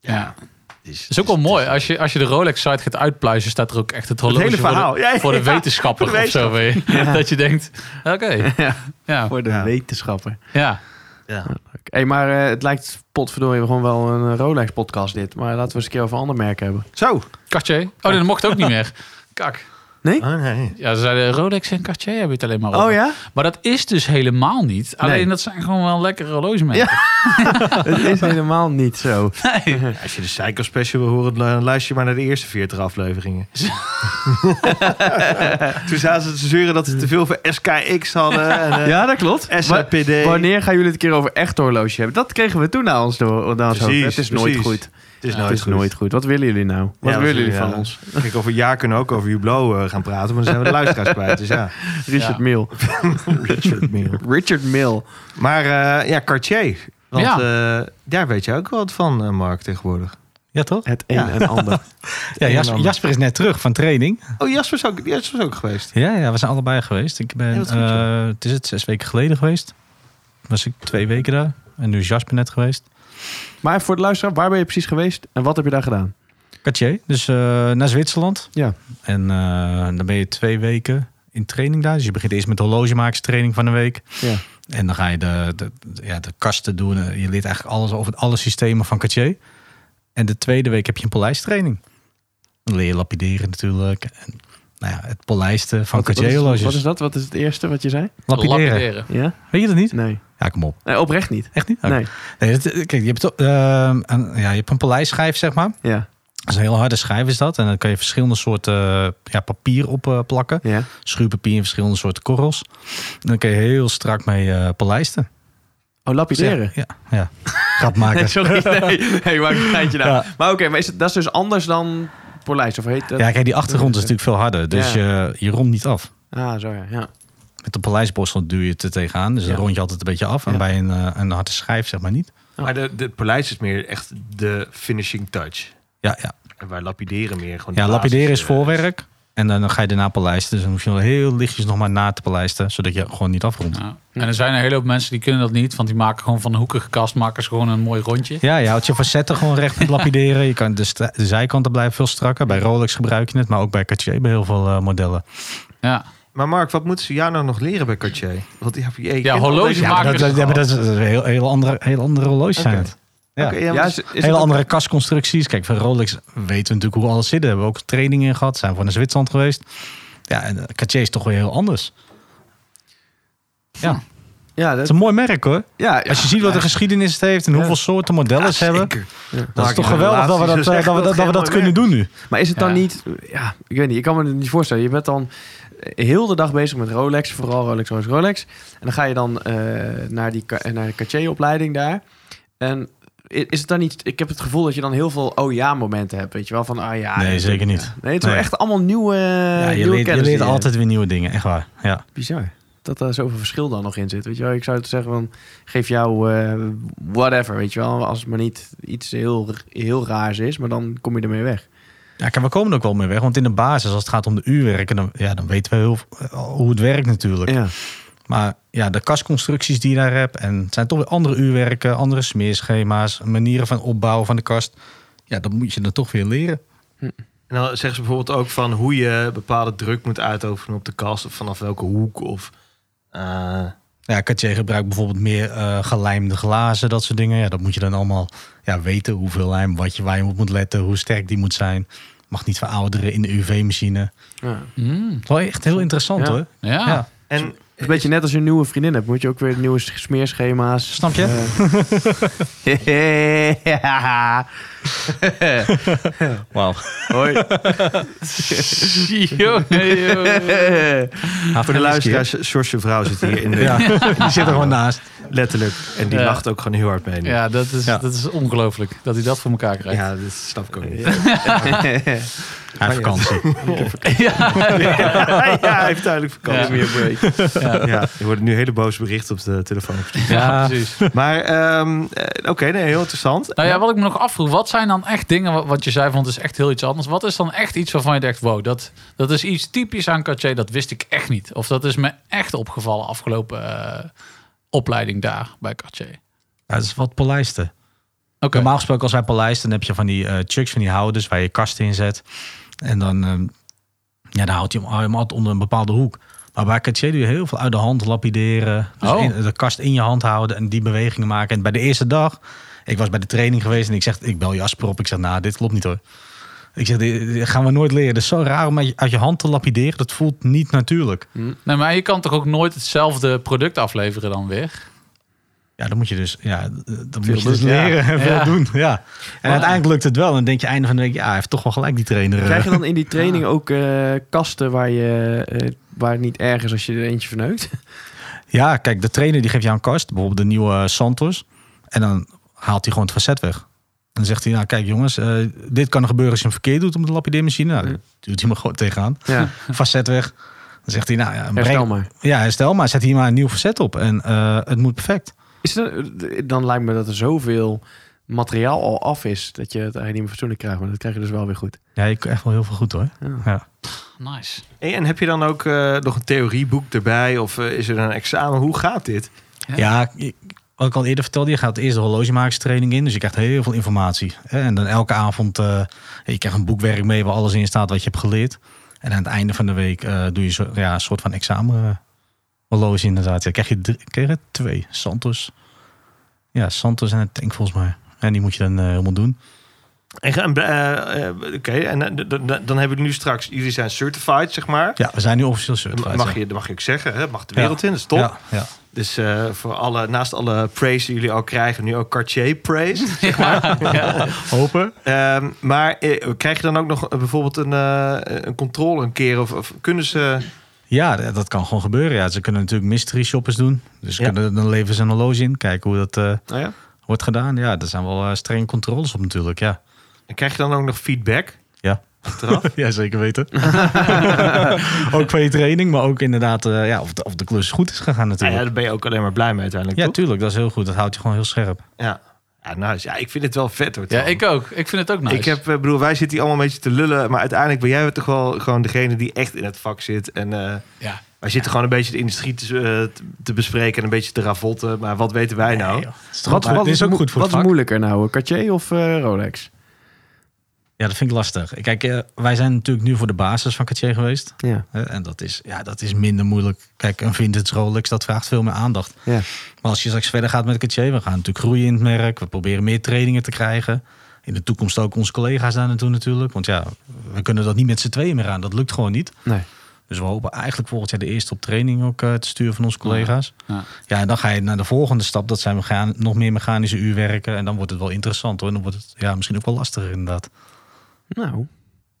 [SPEAKER 4] Ja.
[SPEAKER 7] Dus-
[SPEAKER 4] Dat is ook wel mooi. Als je, als je de Rolex-site gaat uitpluizen, staat er ook echt het horloge
[SPEAKER 7] hele
[SPEAKER 4] voor
[SPEAKER 7] verhaal.
[SPEAKER 4] de,
[SPEAKER 7] Ja, ja,
[SPEAKER 4] voor de
[SPEAKER 7] ja.
[SPEAKER 4] wetenschapper
[SPEAKER 7] Voor de
[SPEAKER 4] of zo. weet je. Dat je denkt, oké.
[SPEAKER 2] Ja.
[SPEAKER 4] Ja,
[SPEAKER 2] Voor de
[SPEAKER 7] Ja.
[SPEAKER 2] wetenschapper.
[SPEAKER 4] ja.
[SPEAKER 7] Ja.
[SPEAKER 2] hey, maar eh, het lijkt potverdorie gewoon wel een eh, Rolex-podcast dit. Maar laten we eens een keer over een ander merk hebben.
[SPEAKER 7] Zo!
[SPEAKER 4] Cartier. Oh, nee, dat mocht ook niet meer. Kak.
[SPEAKER 7] Oh, nee.
[SPEAKER 4] Ja, ze zeiden Rolex en Cartier hebben het alleen maar over.
[SPEAKER 2] Oh ja?
[SPEAKER 4] Maar dat is dus helemaal niet. Alleen
[SPEAKER 2] Nee.
[SPEAKER 4] dat zijn gewoon wel lekkere horlogemerken.
[SPEAKER 2] Het is helemaal niet zo.
[SPEAKER 7] Als je de Psycho Special wil horen, lu- luister je maar naar de eerste 40 afleveringen. Toen zaten ze te zeuren dat ze te veel voor SKX hadden. En, eh,
[SPEAKER 2] Ja, dat klopt. Wa-
[SPEAKER 7] SAPD.
[SPEAKER 2] Wanneer gaan jullie het een keer over echt horloge hebben? Dat kregen we toen naar ons door. Naar ons hoofd.
[SPEAKER 7] Precies,
[SPEAKER 2] het is nooit
[SPEAKER 7] precies.
[SPEAKER 2] goed.
[SPEAKER 7] Het is
[SPEAKER 4] Ja,
[SPEAKER 7] nooit
[SPEAKER 2] het is
[SPEAKER 7] goed.
[SPEAKER 2] nooit goed. Wat willen jullie nou? Wat
[SPEAKER 7] Ja,
[SPEAKER 2] willen jullie
[SPEAKER 7] ja.
[SPEAKER 2] van ons?
[SPEAKER 7] Kijk, over een jaar kunnen we ook over Hublot eh, gaan praten, maar dan zijn we de luisteraars kwijt. Dus ja,
[SPEAKER 2] Richard
[SPEAKER 4] Ja.
[SPEAKER 2] Mil.
[SPEAKER 7] Richard Mille.
[SPEAKER 2] Richard Mil.
[SPEAKER 7] Maar eh, ja, Cartier. Want eh, daar weet je ook wel wat van, eh, Mark, tegenwoordig.
[SPEAKER 3] Ja, toch?
[SPEAKER 2] Het een
[SPEAKER 7] Ja.
[SPEAKER 2] en ander.
[SPEAKER 3] Ja, Jasper, Jasper is net terug van training.
[SPEAKER 7] Oh, Jasper is ook, Jasper is ook geweest.
[SPEAKER 3] Ja, ja, we zijn allebei geweest. Ik ben,
[SPEAKER 7] Ja, wat goed, ja.
[SPEAKER 3] eh, het is het zes weken geleden geweest. Was ik twee weken daar. En nu is Jasper net geweest.
[SPEAKER 2] Maar voor het luisteraar, waar ben je precies geweest en wat heb je daar gedaan?
[SPEAKER 3] Cartier, dus eh, naar Zwitserland.
[SPEAKER 2] Ja.
[SPEAKER 3] En eh, dan ben je twee weken in training daar. Dus je begint eerst met horlogemakerstraining van een week.
[SPEAKER 2] Ja.
[SPEAKER 3] En dan ga je de, de, de- ja, de kasten doen. Eh, Je leert eigenlijk alles over alle systemen van Cartier. En de tweede week heb je een polijstraining. Dan leer je lapideren natuurlijk. En, nou ja, het polijsten van
[SPEAKER 2] wat, wat,
[SPEAKER 3] Cartier
[SPEAKER 2] is, wat is
[SPEAKER 3] horloges.
[SPEAKER 2] dat? Wat is het eerste wat je zei?
[SPEAKER 3] Lapideren.
[SPEAKER 4] Lapideren.
[SPEAKER 2] Ja?
[SPEAKER 3] Weet je dat niet?
[SPEAKER 2] Nee.
[SPEAKER 3] Ja, kom op.
[SPEAKER 2] nee oprecht niet.
[SPEAKER 3] Echt niet? Oké.
[SPEAKER 2] Nee.
[SPEAKER 3] Nee, dat- kijk, je hebt, toch, ehm, een, ja, je hebt een polijstschijf, zeg maar.
[SPEAKER 2] Ja.
[SPEAKER 3] Dat is een heel harde schijf, is dat. En dan kan je verschillende soorten eh, ja, papier op eh, plakken.
[SPEAKER 2] Ja.
[SPEAKER 3] Schuurpapier en verschillende soorten korrels. En dan kan je heel strak mee eh, polijsten.
[SPEAKER 2] Oh, lapideren.
[SPEAKER 3] Ja, ja. Grap maken.
[SPEAKER 2] Nee, sorry. Nee, nee maar een geintje nou.
[SPEAKER 3] Ja.
[SPEAKER 2] Maar oké, maar is het, dat is dus anders dan polijst of heet dat?
[SPEAKER 3] Ja, kijk, die achtergrond is natuurlijk veel harder. Dus
[SPEAKER 2] Ja.
[SPEAKER 3] je, je rondt niet af.
[SPEAKER 2] Ah, zo ja. ja.
[SPEAKER 3] Met de polijstborstel duw je het er tegenaan. Dus dan
[SPEAKER 2] Ja.
[SPEAKER 3] rond je altijd een beetje af. En
[SPEAKER 2] Ja.
[SPEAKER 3] bij een, eh, een harde schijf zeg maar niet.
[SPEAKER 7] Maar de, de paleis is meer echt de finishing touch.
[SPEAKER 3] Ja, ja.
[SPEAKER 7] En waar lapideren meer gewoon...
[SPEAKER 3] ja
[SPEAKER 7] de
[SPEAKER 3] lapideren
[SPEAKER 7] basis,
[SPEAKER 3] is
[SPEAKER 7] eh,
[SPEAKER 3] voorwerk. En dan, dan ga je daarna polijsten. Dus dan hoef je wel heel lichtjes nog maar na te polijsten. Zodat je gewoon niet afrondt.
[SPEAKER 4] Ja. En er zijn een hele hoop mensen die kunnen dat niet, want die maken gewoon van een hoekige kast, maken ze gewoon een mooi rondje.
[SPEAKER 3] Ja, je houdt je facetten gewoon recht met lapideren. Je kan de, stra- de zijkanten blijven veel strakker. Bij Rolex gebruik je het, maar ook bij Cartier bij heel veel eh,
[SPEAKER 2] Ah,
[SPEAKER 3] modellen.
[SPEAKER 4] Ja,
[SPEAKER 7] Maar Mark, wat moeten ze jou nou nog leren bij Cartier? Want die heb je, je kent al
[SPEAKER 4] horloge
[SPEAKER 7] deze-
[SPEAKER 4] maken.
[SPEAKER 3] Maar dat, dat, ja, maar dat is dat is een heel, heel andere, heel andere horloge zijn
[SPEAKER 7] Oké.
[SPEAKER 3] het. Ja.
[SPEAKER 7] Oké, ja, maar
[SPEAKER 2] Ja,
[SPEAKER 7] dat
[SPEAKER 2] is,
[SPEAKER 7] is-
[SPEAKER 2] is het
[SPEAKER 3] Hele
[SPEAKER 2] ook-
[SPEAKER 3] andere kastconstructies. Kijk, van Rolex weten we natuurlijk hoe alles zit. Daar hebben we ook trainingen in gehad. Zijn we naar Zwitserland geweest. Ja, en eh, Cartier is toch weer heel anders. Ja, het
[SPEAKER 2] Ja,
[SPEAKER 3] is
[SPEAKER 2] dat,
[SPEAKER 3] een mooi merk hoor.
[SPEAKER 2] ja,
[SPEAKER 3] Als je ziet wat de geschiedenis het heeft en hoeveel soorten modellen ze hebben.
[SPEAKER 7] zeker.
[SPEAKER 3] Dat
[SPEAKER 7] Maak
[SPEAKER 3] is toch
[SPEAKER 7] je
[SPEAKER 3] geweldig dat we
[SPEAKER 7] relaties,
[SPEAKER 3] dat,
[SPEAKER 7] dus
[SPEAKER 3] eh,
[SPEAKER 7] echt
[SPEAKER 3] dat, we
[SPEAKER 7] wel
[SPEAKER 3] dat, dat, we dat
[SPEAKER 7] helemaal
[SPEAKER 3] kunnen
[SPEAKER 7] merk.
[SPEAKER 3] doen nu.
[SPEAKER 2] Maar is het dan
[SPEAKER 4] Ja.
[SPEAKER 2] niet... Ja, ik weet niet. Ik kan me het niet voorstellen. Je bent dan eh, heel de dag bezig met Rolex. Vooral Rolex, Rolex, Rolex. En dan ga je dan eh, naar, die, ka- naar de Cartier-opleiding daar. En i- is het dan niet... Ik heb het gevoel dat je dan heel veel oh ja momenten hebt. Weet je wel? Van ah ja.
[SPEAKER 3] Nee,
[SPEAKER 2] dit-
[SPEAKER 3] zeker niet.
[SPEAKER 2] ja. Nee, het is wel
[SPEAKER 3] Nee.
[SPEAKER 2] echt allemaal nieuwe,
[SPEAKER 3] Ja, je
[SPEAKER 2] nieuwe
[SPEAKER 3] leert, je
[SPEAKER 2] kennis
[SPEAKER 3] leert
[SPEAKER 2] die je-
[SPEAKER 3] altijd weer nieuwe dingen, echt waar. Ja.
[SPEAKER 2] Bizar. Dat daar zoveel verschil dan nog in zit. Weet je wel? Ik zou het zeggen van... Geef jou eh, whatever, weet je wel? Als het maar niet iets heel, heel raars is. Maar dan kom je ermee weg.
[SPEAKER 3] Ja, kijk, we komen er ook wel mee weg. Want in de basis, als het gaat om de uurwerken, dan, ja, dan weten we heel, eh, hoe het werkt natuurlijk.
[SPEAKER 2] Ja.
[SPEAKER 3] Maar ja, de kastconstructies die je daar hebt. En het zijn toch weer andere uurwerken, andere smeerschema's, manieren van opbouwen van de kast. Ja, dat moet je dan toch weer leren.
[SPEAKER 7] En dan zeggen ze bijvoorbeeld ook van hoe je bepaalde druk moet uitoefenen op de kast. Of vanaf welke hoek. Of, eh,
[SPEAKER 3] Ja, Cartier gebruikt bijvoorbeeld meer eh, gelijmde glazen, dat soort dingen. Ja, dat moet je dan allemaal ja, weten. Hoeveel lijm, wat je, waar je op moet letten, hoe sterk die moet zijn. Mag niet verouderen in de UV-machine.
[SPEAKER 2] ja.
[SPEAKER 4] Mm,
[SPEAKER 3] Wel echt heel interessant
[SPEAKER 2] Ja.
[SPEAKER 7] Ah.
[SPEAKER 3] hoor.
[SPEAKER 4] ja.
[SPEAKER 3] Ja.
[SPEAKER 7] en
[SPEAKER 2] Het is een beetje net als je een nieuwe vriendin hebt. Moet je ook weer nieuwe smeerschema's.
[SPEAKER 3] Snap je?
[SPEAKER 2] Eh.
[SPEAKER 3] Wauw.
[SPEAKER 2] Hoi.
[SPEAKER 7] Ah, Voor de luisteraars, Sjorsje vrouw zit hier in de...
[SPEAKER 3] Ja, die zit er gewoon naast.
[SPEAKER 7] Letterlijk. En die
[SPEAKER 4] Ja.
[SPEAKER 7] lacht ook gewoon heel hard mee. nu.
[SPEAKER 4] Ja, dat is,
[SPEAKER 3] Ja.
[SPEAKER 4] dat is ongelooflijk dat hij dat voor elkaar krijgt.
[SPEAKER 7] Ja, dat snap ik ook niet.
[SPEAKER 3] Hij heeft vakantie.
[SPEAKER 7] ja, hij heeft duidelijk
[SPEAKER 4] Ja.
[SPEAKER 7] vakantie. Ja. Ja, je wordt nu hele boze berichten op de telefoon.
[SPEAKER 4] Ja, precies.
[SPEAKER 7] Maar ehm, eh, oké, nee, heel interessant.
[SPEAKER 4] Nou ja, wat ik me nog afvroeg, wat zijn dan echt dingen, wat, wat je zei van het is echt heel iets anders. Wat is dan echt iets waarvan je denkt, wow, dat, dat is iets typisch aan Cartier, dat wist ik echt niet. Of dat is me echt opgevallen afgelopen eh, opleiding daar bij Cartier.
[SPEAKER 3] Ja, dat is wat polijsten.
[SPEAKER 4] Oké,
[SPEAKER 3] Normaal gesproken als wij polijsten, dan heb je van die eh chucks, van die houders waar je kasten in zet. En dan, ehm, ja, dan houdt je hem, hou je hem altijd onder een bepaalde hoek. Maar bij Cartier doe je heel veel uit de hand lapideren. Dus
[SPEAKER 4] Oh.
[SPEAKER 3] in- de kast in je hand houden en die bewegingen maken. En bij de eerste dag, ik was bij de training geweest en ik zeg, ik bel Jasper op. Ik zeg, nou, dit klopt niet hoor. Ik zeg, dit dit gaan we nooit leren. Het is zo raar om uit je- uit je hand te lapideren. Dat voelt niet natuurlijk.
[SPEAKER 4] nee, maar je kan toch ook nooit hetzelfde product afleveren dan weer?
[SPEAKER 3] Ja, dan moet je dus, ja, dan moet je
[SPEAKER 7] doen,
[SPEAKER 3] dus
[SPEAKER 7] ja.
[SPEAKER 3] leren en veel
[SPEAKER 4] Ja.
[SPEAKER 3] doen. Ja. En uiteindelijk lukt het wel. En dan denk je einde van de week, ja, hij heeft toch wel gelijk die trainer. eh.
[SPEAKER 2] Krijg je dan in die training ook eh, kasten waar, je, eh, waar het niet erg is als je er eentje verneukt?
[SPEAKER 3] Ja, kijk, de trainer die geeft jou een kast, bijvoorbeeld de nieuwe eh, Santos. En dan haalt hij gewoon het facet weg. Dan zegt hij, nou kijk jongens, eh, dit kan er gebeuren als je hem verkeerd doet op de lapideermachine. Nou, dan duwt hij me gewoon tegenaan.
[SPEAKER 2] Ja,
[SPEAKER 3] Facet weg. Dan zegt hij, nou ja,
[SPEAKER 2] herstel
[SPEAKER 3] breng,
[SPEAKER 2] maar.
[SPEAKER 3] ja, herstel maar, zet hier maar een nieuw facet op. En eh, het moet perfect.
[SPEAKER 2] Is er, dan lijkt me dat er zoveel materiaal al af is dat je het eigenlijk niet meer fatsoenlijk krijgt. Maar dat krijg je dus wel weer goed.
[SPEAKER 3] Ja, je kan echt wel heel veel goed hoor.
[SPEAKER 2] Ja.
[SPEAKER 3] Ja.
[SPEAKER 4] Nice.
[SPEAKER 7] Hey, en heb je dan ook eh, nog een theorieboek erbij? Of eh, is er een examen? Hoe gaat dit?
[SPEAKER 3] Ja, ik- wat ik al eerder vertelde, je gaat eerst de horlogemakerstraining in. Dus je krijgt heel veel informatie. hè. En dan elke avond, eh, je krijgt een boekwerk mee waar alles in staat wat je hebt geleerd. En aan het einde van de week eh, doe je zo, ja, een soort van examen eh, horloge inderdaad. Ja, krijg je drie, krijg je twee, Santos. Ja, Santos en het tank volgens mij. En die moet je dan eh, helemaal doen.
[SPEAKER 7] En, ga- en, eh, eh, Oké, en eh, d- d- d- dan hebben we nu straks... Jullie zijn certified, zeg maar.
[SPEAKER 3] Ja, we zijn nu officieel certified.
[SPEAKER 7] Mag
[SPEAKER 3] ja.
[SPEAKER 7] je, dat mag je ook zeggen, hè? mag de
[SPEAKER 3] Ja.
[SPEAKER 7] wereld in, dat is top.
[SPEAKER 3] Ja, ja.
[SPEAKER 7] Dus eh, voor alle, naast alle praise die jullie al krijgen, nu ook Cartier praise.
[SPEAKER 3] Hopen.
[SPEAKER 7] Ehm, maar eh, krijg je dan ook nog eh, bijvoorbeeld een, eh, een controle een keer? Of, of kunnen ze...
[SPEAKER 3] Ja, d- dat kan gewoon gebeuren. Ja, ze kunnen natuurlijk mystery shoppers doen. Dus ze
[SPEAKER 7] Ja.
[SPEAKER 3] kunnen, dan leveren ze een horloge in. Kijken hoe dat... eh,
[SPEAKER 7] Nou ja.
[SPEAKER 3] wordt gedaan. Ja, daar zijn wel eh, strenge controles op natuurlijk. Ja,
[SPEAKER 7] En krijg je dan ook nog feedback?
[SPEAKER 3] ja.
[SPEAKER 7] Achteraf?
[SPEAKER 3] ja zeker weten. ook van je training, maar ook inderdaad eh, ja, of, de, of de klus goed is gegaan
[SPEAKER 7] Nou ja,
[SPEAKER 3] natuurlijk.
[SPEAKER 7] daar ben je ook alleen maar blij mee uiteindelijk,
[SPEAKER 3] Ja,
[SPEAKER 7] toch?
[SPEAKER 3] tuurlijk. Dat is heel goed. Dat houdt je gewoon heel scherp.
[SPEAKER 7] Ja. Ja, nice. Ja, ik vind het wel vet hoor.
[SPEAKER 4] Ja,
[SPEAKER 7] Tom.
[SPEAKER 4] ik ook. Ik vind het ook nice.
[SPEAKER 7] Ik heb, eh, bedoel, wij zitten hier allemaal een beetje te lullen. Maar uiteindelijk ben jij toch wel gewoon degene die echt in het vak zit. En eh,
[SPEAKER 4] ja.
[SPEAKER 7] wij zitten gewoon een beetje de industrie te, eh, te bespreken en een beetje te ravotten. Maar wat weten wij nou?
[SPEAKER 3] Wat, wat is ook
[SPEAKER 2] mo-
[SPEAKER 3] goed voor
[SPEAKER 2] Wat
[SPEAKER 3] het
[SPEAKER 2] is
[SPEAKER 3] vak.
[SPEAKER 2] moeilijker nou, Cartier of eh, Rolex?
[SPEAKER 3] Ja, dat vind ik lastig. Kijk, eh, wij zijn natuurlijk nu voor de basis van Cartier geweest.
[SPEAKER 2] Ja.
[SPEAKER 3] Hè, En dat is, ja, dat is minder moeilijk. Kijk, een vintage Rolex, dat vraagt veel meer aandacht.
[SPEAKER 2] Ja.
[SPEAKER 3] Maar als je straks verder gaat met Cartier, we gaan natuurlijk groeien in het merk. We proberen meer trainingen te krijgen. In de toekomst ook onze collega's daar naartoe natuurlijk. Want ja, we kunnen dat niet met z'n tweeën meer aan. Dat lukt gewoon niet.
[SPEAKER 2] Nee.
[SPEAKER 3] Dus we hopen eigenlijk volgend jaar de eerste op training ook eh, te sturen van onze collega's.
[SPEAKER 4] Ja.
[SPEAKER 3] Ja, en dan ga je naar de volgende stap. Dat zijn we gaan, nog meer mechanische uurwerken. En dan wordt het wel interessant hoor. En dan wordt het ja, misschien ook wel lastiger inderdaad.
[SPEAKER 2] Nou,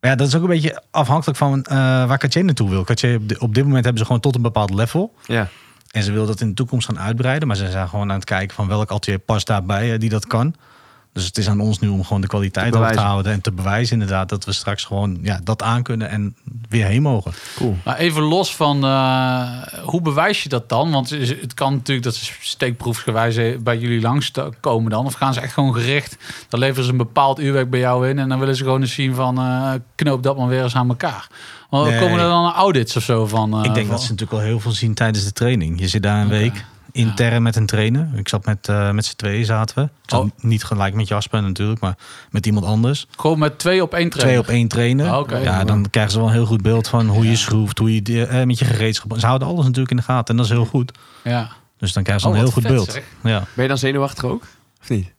[SPEAKER 3] Maar ja, dat is ook een beetje afhankelijk van eh, waar Cartier naartoe wil. Cartier, op, di- op dit moment hebben ze gewoon tot een bepaald level.
[SPEAKER 2] ja.
[SPEAKER 3] En ze wil dat in de toekomst gaan uitbreiden. Maar ze zijn gewoon aan het kijken van welk atelier past daarbij eh, die dat kan. Dus het is aan ons nu om gewoon de kwaliteit
[SPEAKER 2] Te
[SPEAKER 3] hoog te
[SPEAKER 2] bewijzen.
[SPEAKER 3] houden. En te bewijzen inderdaad dat we straks gewoon ja, dat aan kunnen en weer heen mogen.
[SPEAKER 2] cool.
[SPEAKER 4] Maar Nou, even los van, eh, hoe bewijs je dat dan? Want is- het kan natuurlijk dat ze steekproefsgewijs bij jullie langs te- komen dan. Of gaan ze echt gewoon gericht, dan leveren ze een bepaald uurwerk bij jou in. En dan willen ze gewoon eens zien van, eh, knoop dat maar weer eens aan elkaar. Want
[SPEAKER 3] Nee.
[SPEAKER 4] komen er dan audits of zo van?
[SPEAKER 2] Ah,
[SPEAKER 4] eh,
[SPEAKER 3] Ik denk
[SPEAKER 4] van-
[SPEAKER 3] dat ze natuurlijk al heel veel zien tijdens de training. Je zit daar een week intern met een trainer. Ik zat met, eh, met z'n tweeën zaten we. Ik zat
[SPEAKER 4] Oh.
[SPEAKER 3] Niet gelijk met Jasper natuurlijk, maar met iemand anders.
[SPEAKER 4] Gewoon met twee op één trainen?
[SPEAKER 3] Twee op één trainen.
[SPEAKER 4] Ah, oké.
[SPEAKER 3] Ja, dan krijgen ze wel een heel goed beeld van hoe je schroeft, hoe je die- eh, met je gereedschap. Ze houden alles natuurlijk in de gaten en dat is heel goed.
[SPEAKER 4] Ja.
[SPEAKER 3] Dus dan krijgen ze
[SPEAKER 4] Oh,
[SPEAKER 3] een heel
[SPEAKER 4] wat
[SPEAKER 3] goed
[SPEAKER 4] vet,
[SPEAKER 3] beeld.
[SPEAKER 4] zeg.
[SPEAKER 3] Ja.
[SPEAKER 2] Ben je dan zenuwachtig ook? Of niet?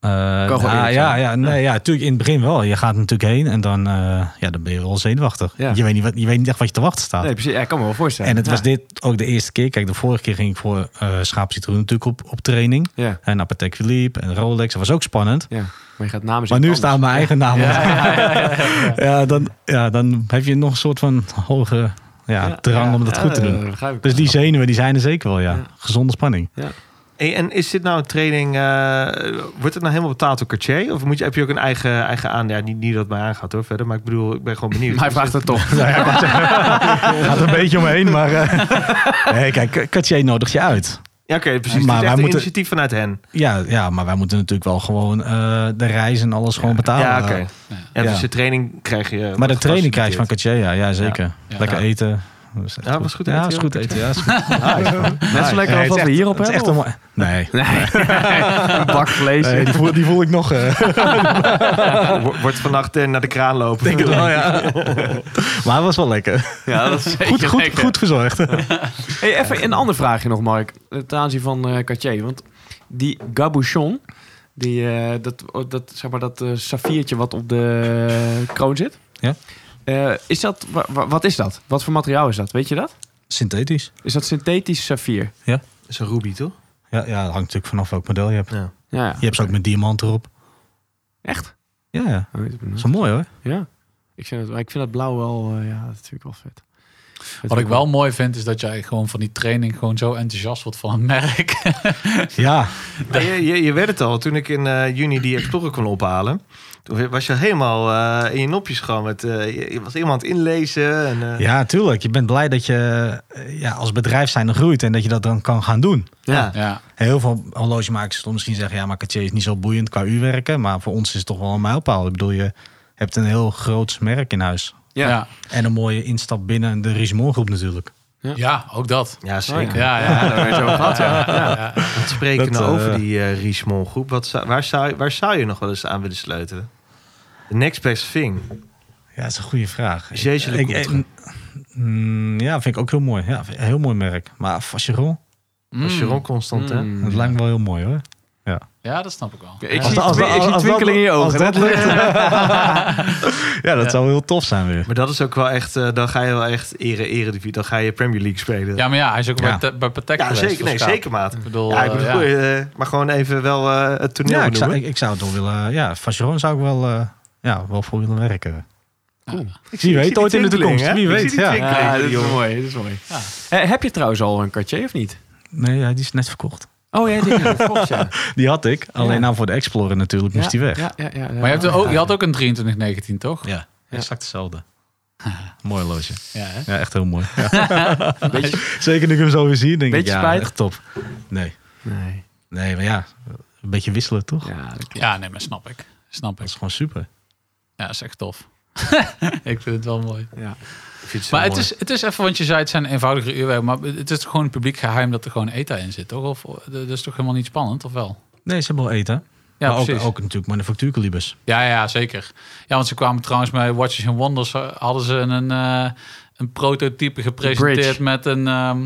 [SPEAKER 3] Eh,
[SPEAKER 2] gewoon
[SPEAKER 3] nou,
[SPEAKER 2] eerlijk
[SPEAKER 3] ja,
[SPEAKER 2] zijn.
[SPEAKER 3] ja, nee, ja, natuurlijk in het begin wel. Je gaat er natuurlijk heen en dan, eh, ja, dan ben je wel zenuwachtig.
[SPEAKER 2] Ja.
[SPEAKER 3] Je, weet niet wat, je weet niet echt wat je te wachten staat.
[SPEAKER 2] Nee, precies. Ja, ik kan me wel voorstellen.
[SPEAKER 3] en het
[SPEAKER 2] Ja.
[SPEAKER 3] was dit ook de eerste keer. Kijk, de vorige keer ging ik voor eh schaap citroen natuurlijk op, op training.
[SPEAKER 2] Ja,
[SPEAKER 3] En Apatek Philippe en Rolex. Dat was ook spannend.
[SPEAKER 2] ja. Maar je gaat namens
[SPEAKER 3] Maar nu
[SPEAKER 2] iemand
[SPEAKER 3] staan
[SPEAKER 2] anders.
[SPEAKER 3] mijn eigen naam. op.
[SPEAKER 4] Ja, ja, ja, ja, ja.
[SPEAKER 3] Ja, dan, ja, dan heb je nog een soort van hoge ja,
[SPEAKER 2] Ja,
[SPEAKER 3] drang
[SPEAKER 2] ja,
[SPEAKER 3] om dat
[SPEAKER 2] ja,
[SPEAKER 3] goed te doen.
[SPEAKER 2] begrijp ik
[SPEAKER 3] Dus
[SPEAKER 2] wel.
[SPEAKER 3] die zenuwen die zijn er zeker wel, ja.
[SPEAKER 2] Ja.
[SPEAKER 3] Gezonde spanning.
[SPEAKER 7] Hey, en is dit nou een training, eh, wordt het nou helemaal betaald door Cartier? Of moet je, heb je ook een eigen, eigen aan? Ja, niet, niet dat het mij aangaat hoor verder, maar ik bedoel, ik ben gewoon benieuwd. Dus,
[SPEAKER 2] Maar hij vraagt het toch.
[SPEAKER 3] Nou ja, Katje- gaat er een beetje omheen, maar... eh, nee, kijk, Cartier nodigt je uit.
[SPEAKER 7] Ja, oké, precies.
[SPEAKER 3] Maar
[SPEAKER 7] Maar het is
[SPEAKER 3] wij
[SPEAKER 7] echt een
[SPEAKER 3] moeten-
[SPEAKER 7] initiatief vanuit hen.
[SPEAKER 3] Ja, ja, maar wij moeten natuurlijk wel gewoon eh, de reis en alles gewoon betalen. eh,
[SPEAKER 7] ja, oké. Ja,
[SPEAKER 3] Ja.
[SPEAKER 7] dus de training krijg je...
[SPEAKER 3] Maar de training krijg je van Cartier, ja, ja zeker.
[SPEAKER 4] Ja.
[SPEAKER 3] Lekker
[SPEAKER 7] Ja.
[SPEAKER 3] eten. Dat is echt
[SPEAKER 7] Ja, was goed eten,
[SPEAKER 3] Ja, was
[SPEAKER 7] ja.
[SPEAKER 3] goed eten. Ja, is goed.
[SPEAKER 2] Net
[SPEAKER 3] Ah,
[SPEAKER 2] zo lekker als wat we hierop
[SPEAKER 3] Het is
[SPEAKER 2] hebben.
[SPEAKER 3] echt een mooi- Nee.
[SPEAKER 2] Een bak vlees.
[SPEAKER 3] Nee, die, voel, die voel ik nog. eh.
[SPEAKER 7] Cartier. Wordt vannacht eh, naar de kraan lopen.
[SPEAKER 3] denk het wel, ja. maar het was wel lekker.
[SPEAKER 2] Oh, Ja, dat is
[SPEAKER 3] Goed, goed, goed verzorgd.
[SPEAKER 2] Hey, even een ander vraagje nog, Mark. eh, Ten aanzien van eh Cartier. Want die gabouchon, die, eh, dat, dat, zeg maar, dat eh, saffiertje wat op de kroon zit.
[SPEAKER 3] Ja.
[SPEAKER 2] Eh, is dat, wa- wa- wat is dat? Wat voor materiaal is dat? Weet je dat?
[SPEAKER 3] Synthetisch.
[SPEAKER 2] Is dat synthetisch saffier?
[SPEAKER 7] Dat is een ruby, toch?
[SPEAKER 3] Ja, ja, dat hangt natuurlijk vanaf welk model je hebt.
[SPEAKER 7] Ja.
[SPEAKER 2] Ja, ja.
[SPEAKER 3] Je hebt ze ook met diamant erop.
[SPEAKER 2] Echt?
[SPEAKER 3] Ja, ja.
[SPEAKER 2] Oh, weet ik
[SPEAKER 3] Dat
[SPEAKER 2] niet.
[SPEAKER 3] is wel mooi hoor.
[SPEAKER 2] Ja. Ik vind, dat, ik vind dat blauw wel, eh, ja, dat vind ik wel vet.
[SPEAKER 4] Wat ik wel mooi vind, is dat jij gewoon van die training gewoon zo enthousiast wordt van een merk.
[SPEAKER 3] Ja,
[SPEAKER 7] Maar Je, je, je weet het al, toen ik in eh, juni die Explorer kon ophalen... Toen was je helemaal eh, in je nopjes gewoon. Met, eh, je, je was helemaal aan het inlezen. En, eh,
[SPEAKER 3] ja, tuurlijk. Je bent blij dat je eh, ja, als bedrijf zijn groeit en dat je dat dan kan gaan doen.
[SPEAKER 7] ja.
[SPEAKER 4] Ja,
[SPEAKER 3] Heel veel horlogemakers zullen misschien zeggen... ja, maar Cartier is niet zo boeiend qua uurwerken. Maar voor ons is het toch wel een mijlpaal. Ik bedoel, je hebt een heel groot merk in huis.
[SPEAKER 4] ja. ja.
[SPEAKER 3] En een mooie instap binnen de Richemont groep natuurlijk.
[SPEAKER 4] ook dat.
[SPEAKER 7] ja,
[SPEAKER 2] Oh,
[SPEAKER 7] zeker.
[SPEAKER 2] ja.
[SPEAKER 4] Ja, ja.
[SPEAKER 2] daar hebben we het over gehad, ja.
[SPEAKER 4] ja, ja.
[SPEAKER 7] Het spreken
[SPEAKER 3] Dat, eh,
[SPEAKER 7] over die eh Richemont groep. Wat zou, waar, zou, waar zou je nog wel eens aan willen sleutelen? The next best thing.
[SPEAKER 3] Ja, dat is een goede vraag.
[SPEAKER 7] Jeetje,
[SPEAKER 3] Ik- ik-
[SPEAKER 7] Lecoultre.
[SPEAKER 3] Mm, ja, vind ik ook heel mooi. Ja, vind ik een heel mooi merk. Maar Vacheron,
[SPEAKER 4] Mm.
[SPEAKER 7] Als Jeroen Constant, hè?
[SPEAKER 2] Mm.
[SPEAKER 3] dat lijkt me wel heel mooi hoor.
[SPEAKER 4] ja, dat snap ik wel.
[SPEAKER 2] Ik
[SPEAKER 4] Ja.
[SPEAKER 2] zie, twi- ik zie twinkeling in je ogen.
[SPEAKER 3] Als dat lukt. ja, dat zou heel tof zijn weer.
[SPEAKER 7] Maar dat is ook wel echt... eh, dan ga je wel echt ere, eredivisie. Dan ga je Premier League spelen.
[SPEAKER 4] Ja, maar ja, hij is ook
[SPEAKER 3] Ja.
[SPEAKER 4] bij, bij Patek
[SPEAKER 7] Ja,
[SPEAKER 4] geweest,
[SPEAKER 7] zeker. Nee,
[SPEAKER 4] volgens mij.
[SPEAKER 7] zeker, maat.
[SPEAKER 4] Ik bedoel,
[SPEAKER 7] Ja, ik
[SPEAKER 4] eh,
[SPEAKER 7] bedoel,
[SPEAKER 4] ja.
[SPEAKER 7] eh, maar gewoon even wel eh, het toneel
[SPEAKER 3] Ja, ik zou,
[SPEAKER 7] benoemen.
[SPEAKER 3] ik, ik zou het wel willen. Ja, Vacheron zou ik wel, eh, ja, wel voor willen werken. Wie
[SPEAKER 7] Ik
[SPEAKER 3] weet,
[SPEAKER 7] zie die
[SPEAKER 3] ooit in de
[SPEAKER 7] twinkeling,
[SPEAKER 3] toekomst.
[SPEAKER 7] hè?
[SPEAKER 3] Wie
[SPEAKER 7] Ik
[SPEAKER 3] weet,
[SPEAKER 7] zie die
[SPEAKER 3] ja.
[SPEAKER 7] twinkeling.
[SPEAKER 2] Ja, dat is
[SPEAKER 7] jongen.
[SPEAKER 2] mooi. Dat is mooi. Eh, heb je trouwens al een Cartier of niet?
[SPEAKER 3] Nee, ja, die is net verkocht.
[SPEAKER 2] Oh ja, die volgens ja.
[SPEAKER 3] Die had ik. Alleen nou voor de Explorer natuurlijk moest die weg.
[SPEAKER 2] Ja, ja, ja, ja.
[SPEAKER 4] Maar je, hebt er ook, je had ook een 2319, toch?
[SPEAKER 3] Ja, exact hetzelfde. mooi loge.
[SPEAKER 4] Ja, hè?
[SPEAKER 3] Ja, echt heel mooi. Ja.
[SPEAKER 2] een beetje...
[SPEAKER 3] Zeker nu ik hem zo weer zie, denk
[SPEAKER 2] Beetje
[SPEAKER 3] ik, ja,
[SPEAKER 2] spijt.
[SPEAKER 3] echt top. Nee.
[SPEAKER 2] Nee.
[SPEAKER 3] nee, maar ja, een beetje wisselen toch?
[SPEAKER 2] Ja, dat klopt.
[SPEAKER 4] ja, nee, maar snap ik. Snap
[SPEAKER 3] Dat is
[SPEAKER 4] ik.
[SPEAKER 3] gewoon super.
[SPEAKER 4] Ja, is echt tof. ik vind het wel mooi.
[SPEAKER 2] Ja.
[SPEAKER 7] Ik vind het zo
[SPEAKER 4] Maar het
[SPEAKER 7] mooi.
[SPEAKER 4] is, het is even, want je zei het zijn eenvoudigere uurwerken, maar het is gewoon publiek geheim dat er gewoon ETA in zit, toch? Of eh, dat is toch helemaal niet spannend, of wel?
[SPEAKER 3] Nee, ze hebben wel eten.
[SPEAKER 4] Ja,
[SPEAKER 3] maar ook,
[SPEAKER 4] precies.
[SPEAKER 3] ook natuurlijk manufactuurkalibers.
[SPEAKER 4] Ja, ja, zeker. Ja, want ze kwamen trouwens bij Watches and Wonders, eh, hadden ze een, eh, een prototype gepresenteerd
[SPEAKER 2] Bridge.
[SPEAKER 4] met een... ehm,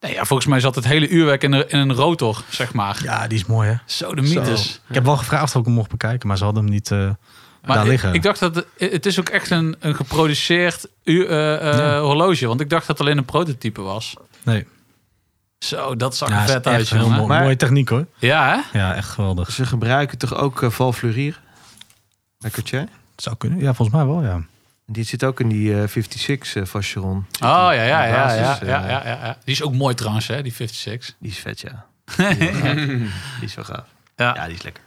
[SPEAKER 4] nee, ja, volgens mij zat het hele uurwerk in, een- in een rotor, zeg maar.
[SPEAKER 3] Ja, die is mooi hè. Dus
[SPEAKER 4] Zo de mythes.
[SPEAKER 3] Ik heb wel gevraagd of ik hem mocht bekijken, maar ze hadden hem niet eh, daar
[SPEAKER 4] ik,
[SPEAKER 3] liggen.
[SPEAKER 4] ik dacht dat het- het is ook echt een, een geproduceerd u, eh, eh,
[SPEAKER 3] Ja.
[SPEAKER 4] horloge, want ik dacht dat het alleen een prototype was.
[SPEAKER 3] nee.
[SPEAKER 4] Zo, dat zag
[SPEAKER 3] Ja,
[SPEAKER 4] er
[SPEAKER 3] is
[SPEAKER 4] vet uit,
[SPEAKER 3] echt heel
[SPEAKER 4] jongen.
[SPEAKER 3] mooi.
[SPEAKER 7] Maar-
[SPEAKER 3] Mooie techniek hoor.
[SPEAKER 4] Ja, hè?
[SPEAKER 3] Ja, echt geweldig.
[SPEAKER 7] Ze gebruiken toch ook eh Valflurier? Lekker, tje?
[SPEAKER 3] Zou kunnen. Ja, volgens mij wel ja.
[SPEAKER 7] Die zit ook in die eh 56 eh Vacheron. Zit
[SPEAKER 4] Oh ja,
[SPEAKER 7] in-
[SPEAKER 4] ja,
[SPEAKER 7] in de
[SPEAKER 4] ja,
[SPEAKER 7] basis,
[SPEAKER 4] ja,
[SPEAKER 7] eh,
[SPEAKER 4] ja, ja, ja, ja. Die is ook mooi trouwens, hè, die 56.
[SPEAKER 7] Die is vet, ja. Die is wel gaaf. Die is wel gaaf.
[SPEAKER 4] Ja.
[SPEAKER 7] Ja, die is lekker.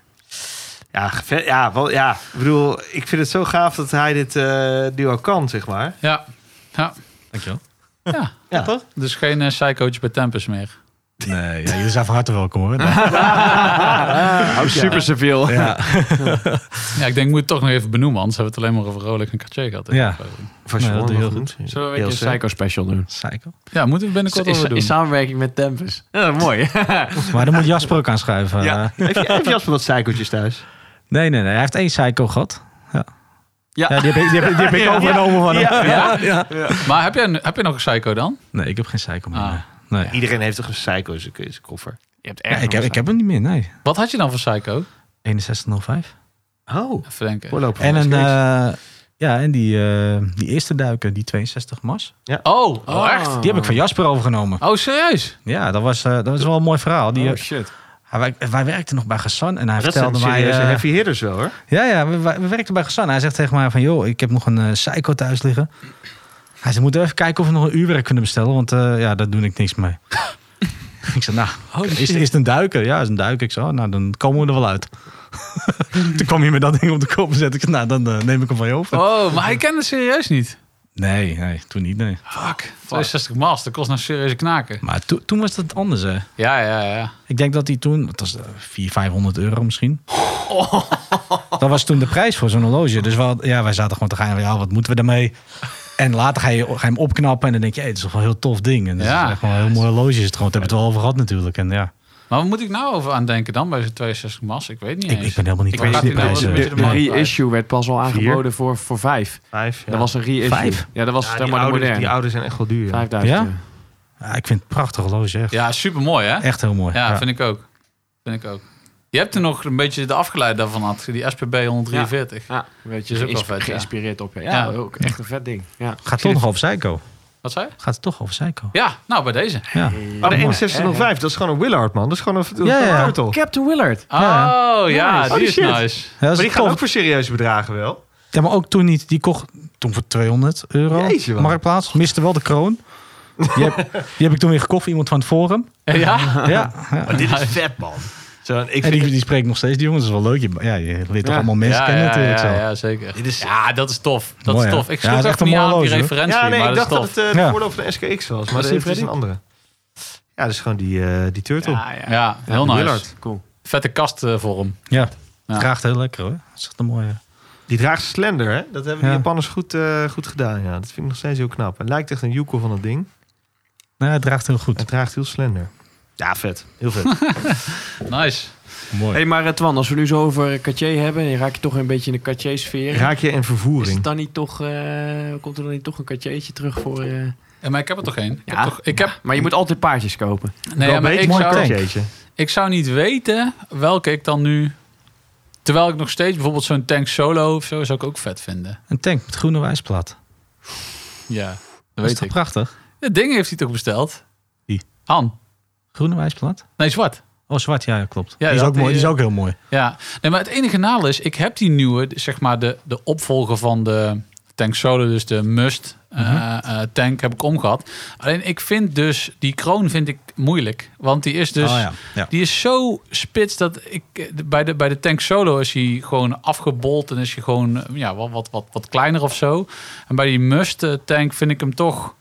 [SPEAKER 7] Ja, vet, ja, wel, ja, ik bedoel, ik vind het zo gaaf dat hij dit eh nu al kan, zeg maar.
[SPEAKER 4] Ja, ja.
[SPEAKER 3] Dankjewel.
[SPEAKER 4] ja.
[SPEAKER 7] Ja, toch?
[SPEAKER 4] Dus geen uh, psychootje bij Tempus meer.
[SPEAKER 3] Nee, ja, jullie zijn van harte welkom hoor.
[SPEAKER 2] Super Seville.
[SPEAKER 3] ja.
[SPEAKER 4] Ja, ik denk, ik moet het toch nog even benoemen, anders hebben we het alleen maar over Rolex en Cartier gehad.
[SPEAKER 3] Ja.
[SPEAKER 7] Vacheron,
[SPEAKER 3] Nee, dat doe je
[SPEAKER 7] nog
[SPEAKER 3] heel
[SPEAKER 7] goed.
[SPEAKER 4] Zullen we een
[SPEAKER 2] Een
[SPEAKER 4] beetje
[SPEAKER 2] psycho special doen.
[SPEAKER 3] Psycho.
[SPEAKER 4] Ja, moeten we binnenkort
[SPEAKER 2] in,
[SPEAKER 4] over doen.
[SPEAKER 2] in samenwerking met Tempus. Ja, mooi.
[SPEAKER 3] Maar dan moet Jasper ook aanschuiven.
[SPEAKER 2] Ja.
[SPEAKER 3] eh.
[SPEAKER 7] Heb je, heb je Jasper wat cykeltjes thuis?
[SPEAKER 3] Nee, nee, nee. Hij heeft één psycho gehad. Ja.
[SPEAKER 2] Ja.
[SPEAKER 3] die heb ik, die heb ik, die heb ik overgenomen van hem.
[SPEAKER 4] ja? Maar heb jij, heb je nog een psycho dan?
[SPEAKER 3] Nee, ik heb geen psycho meer.
[SPEAKER 4] Ah.
[SPEAKER 3] Nee.
[SPEAKER 7] Iedereen heeft toch een cyco in zijn in zijn koffer?
[SPEAKER 2] Je hebt
[SPEAKER 3] Ja, ik, heb, ik heb hem niet meer, nee.
[SPEAKER 4] Wat had je dan voor psycho?
[SPEAKER 3] 6105.
[SPEAKER 7] Oh,
[SPEAKER 4] Even denken.
[SPEAKER 7] voorlopig.
[SPEAKER 3] En, een, eh, ja, en die, eh, die eerste duiken, die 62 mars.
[SPEAKER 4] Oh, oh, echt?
[SPEAKER 3] Die heb ik van Jasper overgenomen.
[SPEAKER 4] Oh, serieus?
[SPEAKER 3] Ja, dat was, eh, dat was wel een mooi verhaal. Die, eh,
[SPEAKER 2] Oh shit.
[SPEAKER 3] hij- wij, wij werkten nog bij Gassan en hij
[SPEAKER 7] Dat zijn
[SPEAKER 3] vertelde mij...
[SPEAKER 7] serieuze
[SPEAKER 3] eh,
[SPEAKER 7] heavy hitters wel, hoor.
[SPEAKER 3] Ja, ja we, we werkten bij Gassan. Hij zegt tegen mij van, joh, ik heb nog een eh, psycho thuis liggen. Hij zei, moeten we even kijken of we nog een uurwerk kunnen bestellen, want eh, ja, daar doe ik niks mee. ik zei, nou, is, is het een duiker? Ja, is een duiker. Ik zei, oh, nou, dan komen we er wel uit. Toen kwam hij met dat ding op de kop en zette ik, nou, dan eh, neem ik hem van je over.
[SPEAKER 4] Oh, maar hij kende het serieus niet.
[SPEAKER 3] Nee, nee, toen niet, nee.
[SPEAKER 4] Fuck. 62 mas, dat kost nou serieuze knaken.
[SPEAKER 3] Maar to- toen was dat anders, hè.
[SPEAKER 4] Ja, ja, ja.
[SPEAKER 3] Ik denk dat die toen, het was eh, 400, 500 euro misschien. Dat was toen de prijs voor zo'n horloge. Dus wel, ja, wij zaten gewoon te gaan, ja, wat moeten we daarmee? En later ga je, ga je hem opknappen en dan denk je, hey, het is toch wel een heel tof ding. En het
[SPEAKER 4] Ja.
[SPEAKER 3] is echt wel een heel mooi horloge. Is het gewoon, we hebben het wel over gehad natuurlijk. En ja,
[SPEAKER 4] Maar wat moet ik nou over aan denken dan bij zo'n 62 mas? Ik weet niet
[SPEAKER 3] ik,
[SPEAKER 4] eens.
[SPEAKER 3] ik ben helemaal niet
[SPEAKER 4] Ik
[SPEAKER 3] van
[SPEAKER 4] weet
[SPEAKER 3] die
[SPEAKER 4] niet, nou,
[SPEAKER 3] prijzen.
[SPEAKER 4] dat is
[SPEAKER 2] De,
[SPEAKER 4] een
[SPEAKER 2] de
[SPEAKER 4] beetje
[SPEAKER 2] reissue werd pas al aangeboden voor, voor vijf.
[SPEAKER 7] Vijf, ja.
[SPEAKER 2] Dat was een reissue.
[SPEAKER 3] Vijf?
[SPEAKER 2] Ja, dat was
[SPEAKER 7] Ja,
[SPEAKER 2] zeg
[SPEAKER 7] die,
[SPEAKER 2] maar de
[SPEAKER 7] ouders, die
[SPEAKER 2] moderne.
[SPEAKER 7] ouders zijn echt wel duur. Ja.
[SPEAKER 2] 5000.
[SPEAKER 3] Ja? Ja, ik vind het een prachtig horloge, echt.
[SPEAKER 4] Ja, super mooi hè?
[SPEAKER 3] Echt heel mooi.
[SPEAKER 4] Ja,
[SPEAKER 3] Ja.
[SPEAKER 4] vind ik ook. Vind ik ook. Je hebt er nog een beetje de afgeleide daarvan had, die SPB 143.
[SPEAKER 2] Ja, weet je,
[SPEAKER 4] Is ook wel
[SPEAKER 2] geïns-
[SPEAKER 4] vet, ja.
[SPEAKER 2] geïnspireerd op. Ja,
[SPEAKER 4] Ja.
[SPEAKER 2] ja, ook echt een vet ding. Ja.
[SPEAKER 3] Gaat toch nog over Seiko.
[SPEAKER 4] Wat zei je?
[SPEAKER 3] Gaat het toch over Seiko.
[SPEAKER 4] Ja, nou bij deze.
[SPEAKER 3] Ja.
[SPEAKER 7] Oh, de 6105, dat is gewoon een Willard, man. Dat is gewoon een, dat is
[SPEAKER 3] Ja,
[SPEAKER 7] gewoon een
[SPEAKER 3] ja.
[SPEAKER 7] turtle.
[SPEAKER 2] Captain Willard.
[SPEAKER 4] Oh ja,
[SPEAKER 7] Nice.
[SPEAKER 4] die
[SPEAKER 7] Oh,
[SPEAKER 4] is
[SPEAKER 7] shit.
[SPEAKER 4] nice.
[SPEAKER 3] Ja, dat is
[SPEAKER 7] Maar die gaan
[SPEAKER 3] tof.
[SPEAKER 7] ook voor serieuze bedragen wel.
[SPEAKER 3] Ja, maar ook toen niet. Die kocht toen voor 200 euro.
[SPEAKER 7] Jeetje, wat.
[SPEAKER 3] marktplaats. Miste wel de kroon. Die heb, die heb ik toen weer gekocht voor iemand van het forum.
[SPEAKER 4] Ja?
[SPEAKER 3] Ja. ja.
[SPEAKER 7] Maar dit is vet, man. Zo, ik
[SPEAKER 3] En
[SPEAKER 7] vind
[SPEAKER 3] die, die spreekt nog steeds, die jongens. Dat is wel leuk. Je, ja, je leert toch
[SPEAKER 2] Ja.
[SPEAKER 3] allemaal mensen
[SPEAKER 4] ja,
[SPEAKER 3] kennen
[SPEAKER 4] ja,
[SPEAKER 3] natuurlijk
[SPEAKER 4] ja,
[SPEAKER 3] zo.
[SPEAKER 4] ja, zeker.
[SPEAKER 7] Dit is-
[SPEAKER 4] ja, dat is tof. Dat
[SPEAKER 3] Mooi,
[SPEAKER 4] is
[SPEAKER 3] hè?
[SPEAKER 4] tof.
[SPEAKER 3] Ja,
[SPEAKER 4] Ik sloeg
[SPEAKER 3] dat is
[SPEAKER 4] ook
[SPEAKER 3] echt een
[SPEAKER 4] niet
[SPEAKER 3] mooi
[SPEAKER 4] aan die
[SPEAKER 3] horloge, hoor.
[SPEAKER 4] referentie,
[SPEAKER 7] ja, nee,
[SPEAKER 4] maar
[SPEAKER 7] ik
[SPEAKER 4] dat
[SPEAKER 7] dacht
[SPEAKER 4] is
[SPEAKER 7] dat
[SPEAKER 4] tof.
[SPEAKER 7] het eh, de
[SPEAKER 3] Ja.
[SPEAKER 7] voorloop van de SKX was, maar
[SPEAKER 2] die
[SPEAKER 7] dit is een
[SPEAKER 2] Freddy?
[SPEAKER 7] andere. Ja, dat is gewoon die, eh, die turtle.
[SPEAKER 4] Ja, heel
[SPEAKER 7] de
[SPEAKER 4] nice.
[SPEAKER 7] Willard.
[SPEAKER 2] Ah, Cool.
[SPEAKER 4] Vette eh, kastvorm.
[SPEAKER 3] Ja.
[SPEAKER 4] Ja.
[SPEAKER 3] Draagt heel lekker hoor. Dat is echt een mooie.
[SPEAKER 7] Die draagt slender, hè? Dat hebben
[SPEAKER 3] Ja.
[SPEAKER 7] de Japanners goed, eh, goed gedaan. Ja, dat vind ik nog steeds heel knap. Het lijkt echt een Yuko van dat ding.
[SPEAKER 3] Nou, het draagt heel goed.
[SPEAKER 7] Het draagt heel slender. Ja, vet. Heel vet.
[SPEAKER 4] Nice.
[SPEAKER 3] Mooi.
[SPEAKER 2] hey, maar eh, Twan, als we nu zo over Cartier hebben... en raak je toch een beetje in de Cartier-sfeer.
[SPEAKER 7] Raak je in
[SPEAKER 2] Is het
[SPEAKER 7] vervoering.
[SPEAKER 2] dan niet toch, eh, komt er dan niet toch een Cartiertje terug voor... eh,
[SPEAKER 4] Ja, maar ik heb er toch één. Ik
[SPEAKER 2] Ja.
[SPEAKER 4] heb toch, ik heb,
[SPEAKER 2] Maar je moet altijd paardjes kopen.
[SPEAKER 4] nee, ja,
[SPEAKER 7] Wel
[SPEAKER 4] maar
[SPEAKER 7] een
[SPEAKER 4] ik
[SPEAKER 7] beetje
[SPEAKER 4] zou,
[SPEAKER 7] mooi
[SPEAKER 3] tank.
[SPEAKER 7] kartjeetje.
[SPEAKER 4] ik zou niet weten welke ik dan nu... Terwijl ik nog steeds bijvoorbeeld zo'n tank solo of zo zou ik ook vet vinden.
[SPEAKER 3] Een tank met groene wijsplaat.
[SPEAKER 4] Ja, dat,
[SPEAKER 3] Dat is
[SPEAKER 4] weet
[SPEAKER 3] toch
[SPEAKER 4] ik.
[SPEAKER 3] prachtig?
[SPEAKER 4] Het ding heeft hij toch besteld?
[SPEAKER 3] Wie?
[SPEAKER 4] Han.
[SPEAKER 3] Groene wijsplaat.
[SPEAKER 4] Nee, zwart.
[SPEAKER 3] Oh, zwart. Ja, ja, klopt.
[SPEAKER 4] Ja,
[SPEAKER 3] die, is
[SPEAKER 4] dat
[SPEAKER 3] ook mooi.
[SPEAKER 4] die- eh,
[SPEAKER 3] die is ook heel mooi.
[SPEAKER 4] Ja, nee, maar het enige nadeel is, ik heb die nieuwe, zeg maar de, de opvolger van de Tank Solo, dus de Must eh,
[SPEAKER 3] Mhm.
[SPEAKER 4] eh, tank, heb ik omgehad. Alleen ik vind dus, die kroon vind ik moeilijk, want die is dus,
[SPEAKER 3] oh, ja. Ja.
[SPEAKER 4] die is zo spits dat ik, eh, bij de, bij de Tank Solo is hij gewoon afgebold en is hij gewoon eh, ja, wat, wat, wat, wat kleiner of zo. En bij die Must eh, tank vind ik hem toch,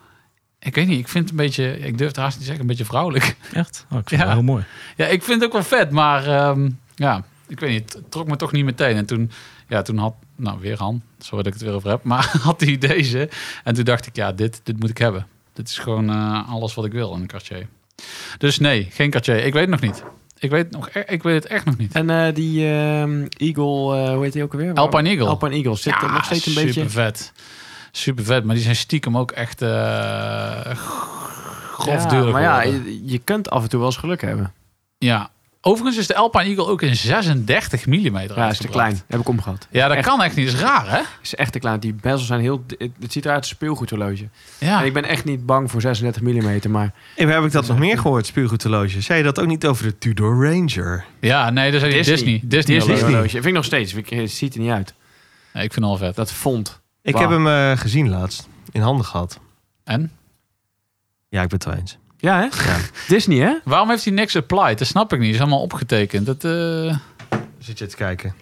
[SPEAKER 4] ik weet niet, ik vind het een beetje, ik durf het haast niet te zeggen, een beetje vrouwelijk.
[SPEAKER 3] Echt? Oh, ik vind
[SPEAKER 4] Ja.
[SPEAKER 3] het heel mooi.
[SPEAKER 4] Ja, ik vind het ook wel vet, maar ehm, ja, ik weet niet, het trok me toch niet meteen. En toen, ja, toen had, nou weer Han, sorry dat ik het weer over heb, maar had hij deze. En toen dacht ik, ja, dit, dit moet ik hebben. Dit is gewoon eh, alles wat ik wil in een Cartier. Dus nee, geen Cartier. Ik weet het nog niet. Ik weet, het nog, e- ik weet het echt nog niet.
[SPEAKER 2] En eh, die ehm, Eagle, eh, hoe heet die ook alweer?
[SPEAKER 4] Alpine Eagle.
[SPEAKER 2] Alpine Eagle. Zit er nog steeds een
[SPEAKER 4] super
[SPEAKER 2] beetje...
[SPEAKER 4] vet. Super vet, maar die zijn stiekem ook echt eh grof
[SPEAKER 2] ja,
[SPEAKER 4] duurder
[SPEAKER 2] maar ja,
[SPEAKER 4] geworden.
[SPEAKER 2] je, je kunt af en toe wel eens geluk hebben.
[SPEAKER 4] Ja. Overigens is de Alpine Eagle ook in 36 mm.
[SPEAKER 2] Ja, is te klein. Heb ik omgehad.
[SPEAKER 4] Ja, dat
[SPEAKER 2] Echt.
[SPEAKER 4] kan echt niet. is raar, hè?
[SPEAKER 2] Is echt te klein. Die bezels zijn heel... Het, het ziet eruit als een speelgoedhorloge.
[SPEAKER 4] Ja.
[SPEAKER 2] En ik ben echt niet bang voor 36 mm, maar...
[SPEAKER 7] En waar heb ik dat nog meer gehoord, spuurgoedhorloge? Zei je dat ook niet over de Tudor Ranger?
[SPEAKER 4] Ja, nee, dat is Disney. Disney. Disney.
[SPEAKER 2] horloge.
[SPEAKER 4] horloge.
[SPEAKER 2] horloge. Vind ik nog steeds. Ik- Het ziet er niet uit.
[SPEAKER 4] Nee, ik vind het al vet.
[SPEAKER 2] Dat vond.
[SPEAKER 7] Ik
[SPEAKER 2] Wauw.
[SPEAKER 7] heb hem eh, gezien laatst. In handen gehad.
[SPEAKER 4] En?
[SPEAKER 7] Ja, ik ben het wel eens.
[SPEAKER 2] Ja, hè? Disney, hè?
[SPEAKER 4] Waarom heeft hij niks applied? Dat snap ik niet. Het is allemaal opgetekend. Dat, eh,
[SPEAKER 7] Zit je te kijken?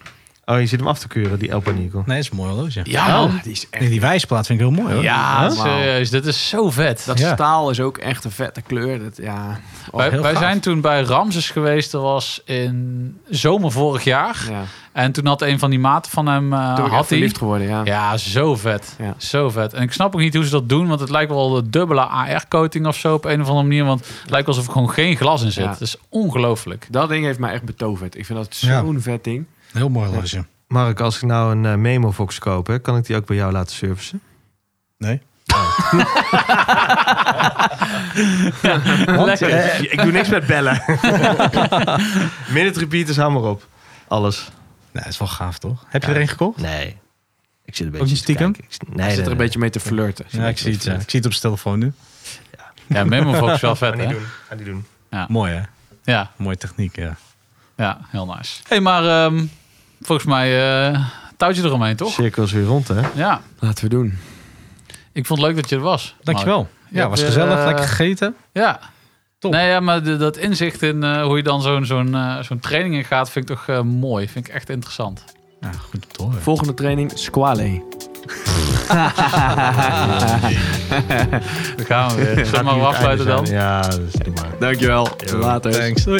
[SPEAKER 7] Oh, je zit hem af te keuren, die Alpine Eagle.
[SPEAKER 3] Nee, het is een mooi horloge.
[SPEAKER 4] Ja, man.
[SPEAKER 2] die is echt...
[SPEAKER 3] Nee, die wijsplaat vind ik heel mooi hoor.
[SPEAKER 4] Ja,
[SPEAKER 2] Huh?
[SPEAKER 4] serieus. Dit is zo vet.
[SPEAKER 2] Dat
[SPEAKER 3] Ja.
[SPEAKER 2] staal is ook echt een vette kleur. Dat, ja. Oh,
[SPEAKER 4] wij
[SPEAKER 3] heel
[SPEAKER 4] wij
[SPEAKER 3] gaaf.
[SPEAKER 4] zijn toen bij Ramses geweest. Dat was in zomer vorig jaar.
[SPEAKER 2] ja.
[SPEAKER 3] Ah,
[SPEAKER 4] En toen had een van die maten van hem... eh,
[SPEAKER 2] Toen ben ik echt
[SPEAKER 4] had hij.
[SPEAKER 2] verliefd geworden, ja.
[SPEAKER 4] Ja, zo vet.
[SPEAKER 2] Ja.
[SPEAKER 4] Zo vet. En ik snap ook niet hoe ze dat doen. Want het lijkt wel de dubbele AR-coating of zo op een of andere manier. Want het lijkt alsof er gewoon geen glas in zit.
[SPEAKER 2] Ja.
[SPEAKER 4] Dat is ongelooflijk.
[SPEAKER 2] Dat ding heeft mij echt betoverd. Ik vind dat
[SPEAKER 3] Ja.
[SPEAKER 2] zo'n vet ding.
[SPEAKER 3] Heel mooi horloge.
[SPEAKER 7] Mark, als ik nou een eh, Memofox koop, hè, kan ik die ook bij jou laten servicen?
[SPEAKER 3] Nee.
[SPEAKER 7] Oh. eh, ik doe niks met bellen. Minute repeaters, hou maar op. Alles.
[SPEAKER 3] Nou, is wel gaaf, toch? Heb je er een gekocht?
[SPEAKER 7] Nee. Ik zit een beetje
[SPEAKER 3] niet
[SPEAKER 7] te
[SPEAKER 3] stiekem?
[SPEAKER 7] kijken. Ik zit- nee,
[SPEAKER 2] Hij zit
[SPEAKER 7] nee,
[SPEAKER 2] er een
[SPEAKER 7] nee.
[SPEAKER 2] beetje mee te flirten.
[SPEAKER 3] Ja, ik zie het. ja. Ik zie het op zijn telefoon nu.
[SPEAKER 4] Ja, Memovox is wel vet,
[SPEAKER 7] Ga niet
[SPEAKER 4] hè?
[SPEAKER 7] doen. Ga niet doen.
[SPEAKER 3] Mooi, hè?
[SPEAKER 4] Ja,
[SPEAKER 3] Mooie techniek, ja.
[SPEAKER 4] ja, heel nice. hey, maar ehm, volgens mij eh touwtje eromheen, toch?
[SPEAKER 7] Cirkel is weer rond, hè?
[SPEAKER 4] Ja,
[SPEAKER 2] Laten we doen.
[SPEAKER 4] ik vond het leuk dat je er was. Mark.
[SPEAKER 3] Dankjewel. Ja,
[SPEAKER 4] hebt
[SPEAKER 3] was
[SPEAKER 4] weer,
[SPEAKER 3] gezellig.
[SPEAKER 4] eh,
[SPEAKER 3] Lekker gegeten.
[SPEAKER 4] Ja.
[SPEAKER 3] Top.
[SPEAKER 4] Nee, ja, maar de- dat inzicht in eh, hoe je dan zo'n zo'n eh, zo'n training in gaat, vind ik toch eh, mooi. Vind ik echt interessant.
[SPEAKER 3] Ja, goed om te horen.
[SPEAKER 2] Volgende training, Squale.
[SPEAKER 4] We gaan weer. Zullen we maar weer afsluiten dan?
[SPEAKER 7] Ja, dus doe maar.
[SPEAKER 2] Dankjewel. Later.
[SPEAKER 3] Thanks. Doei.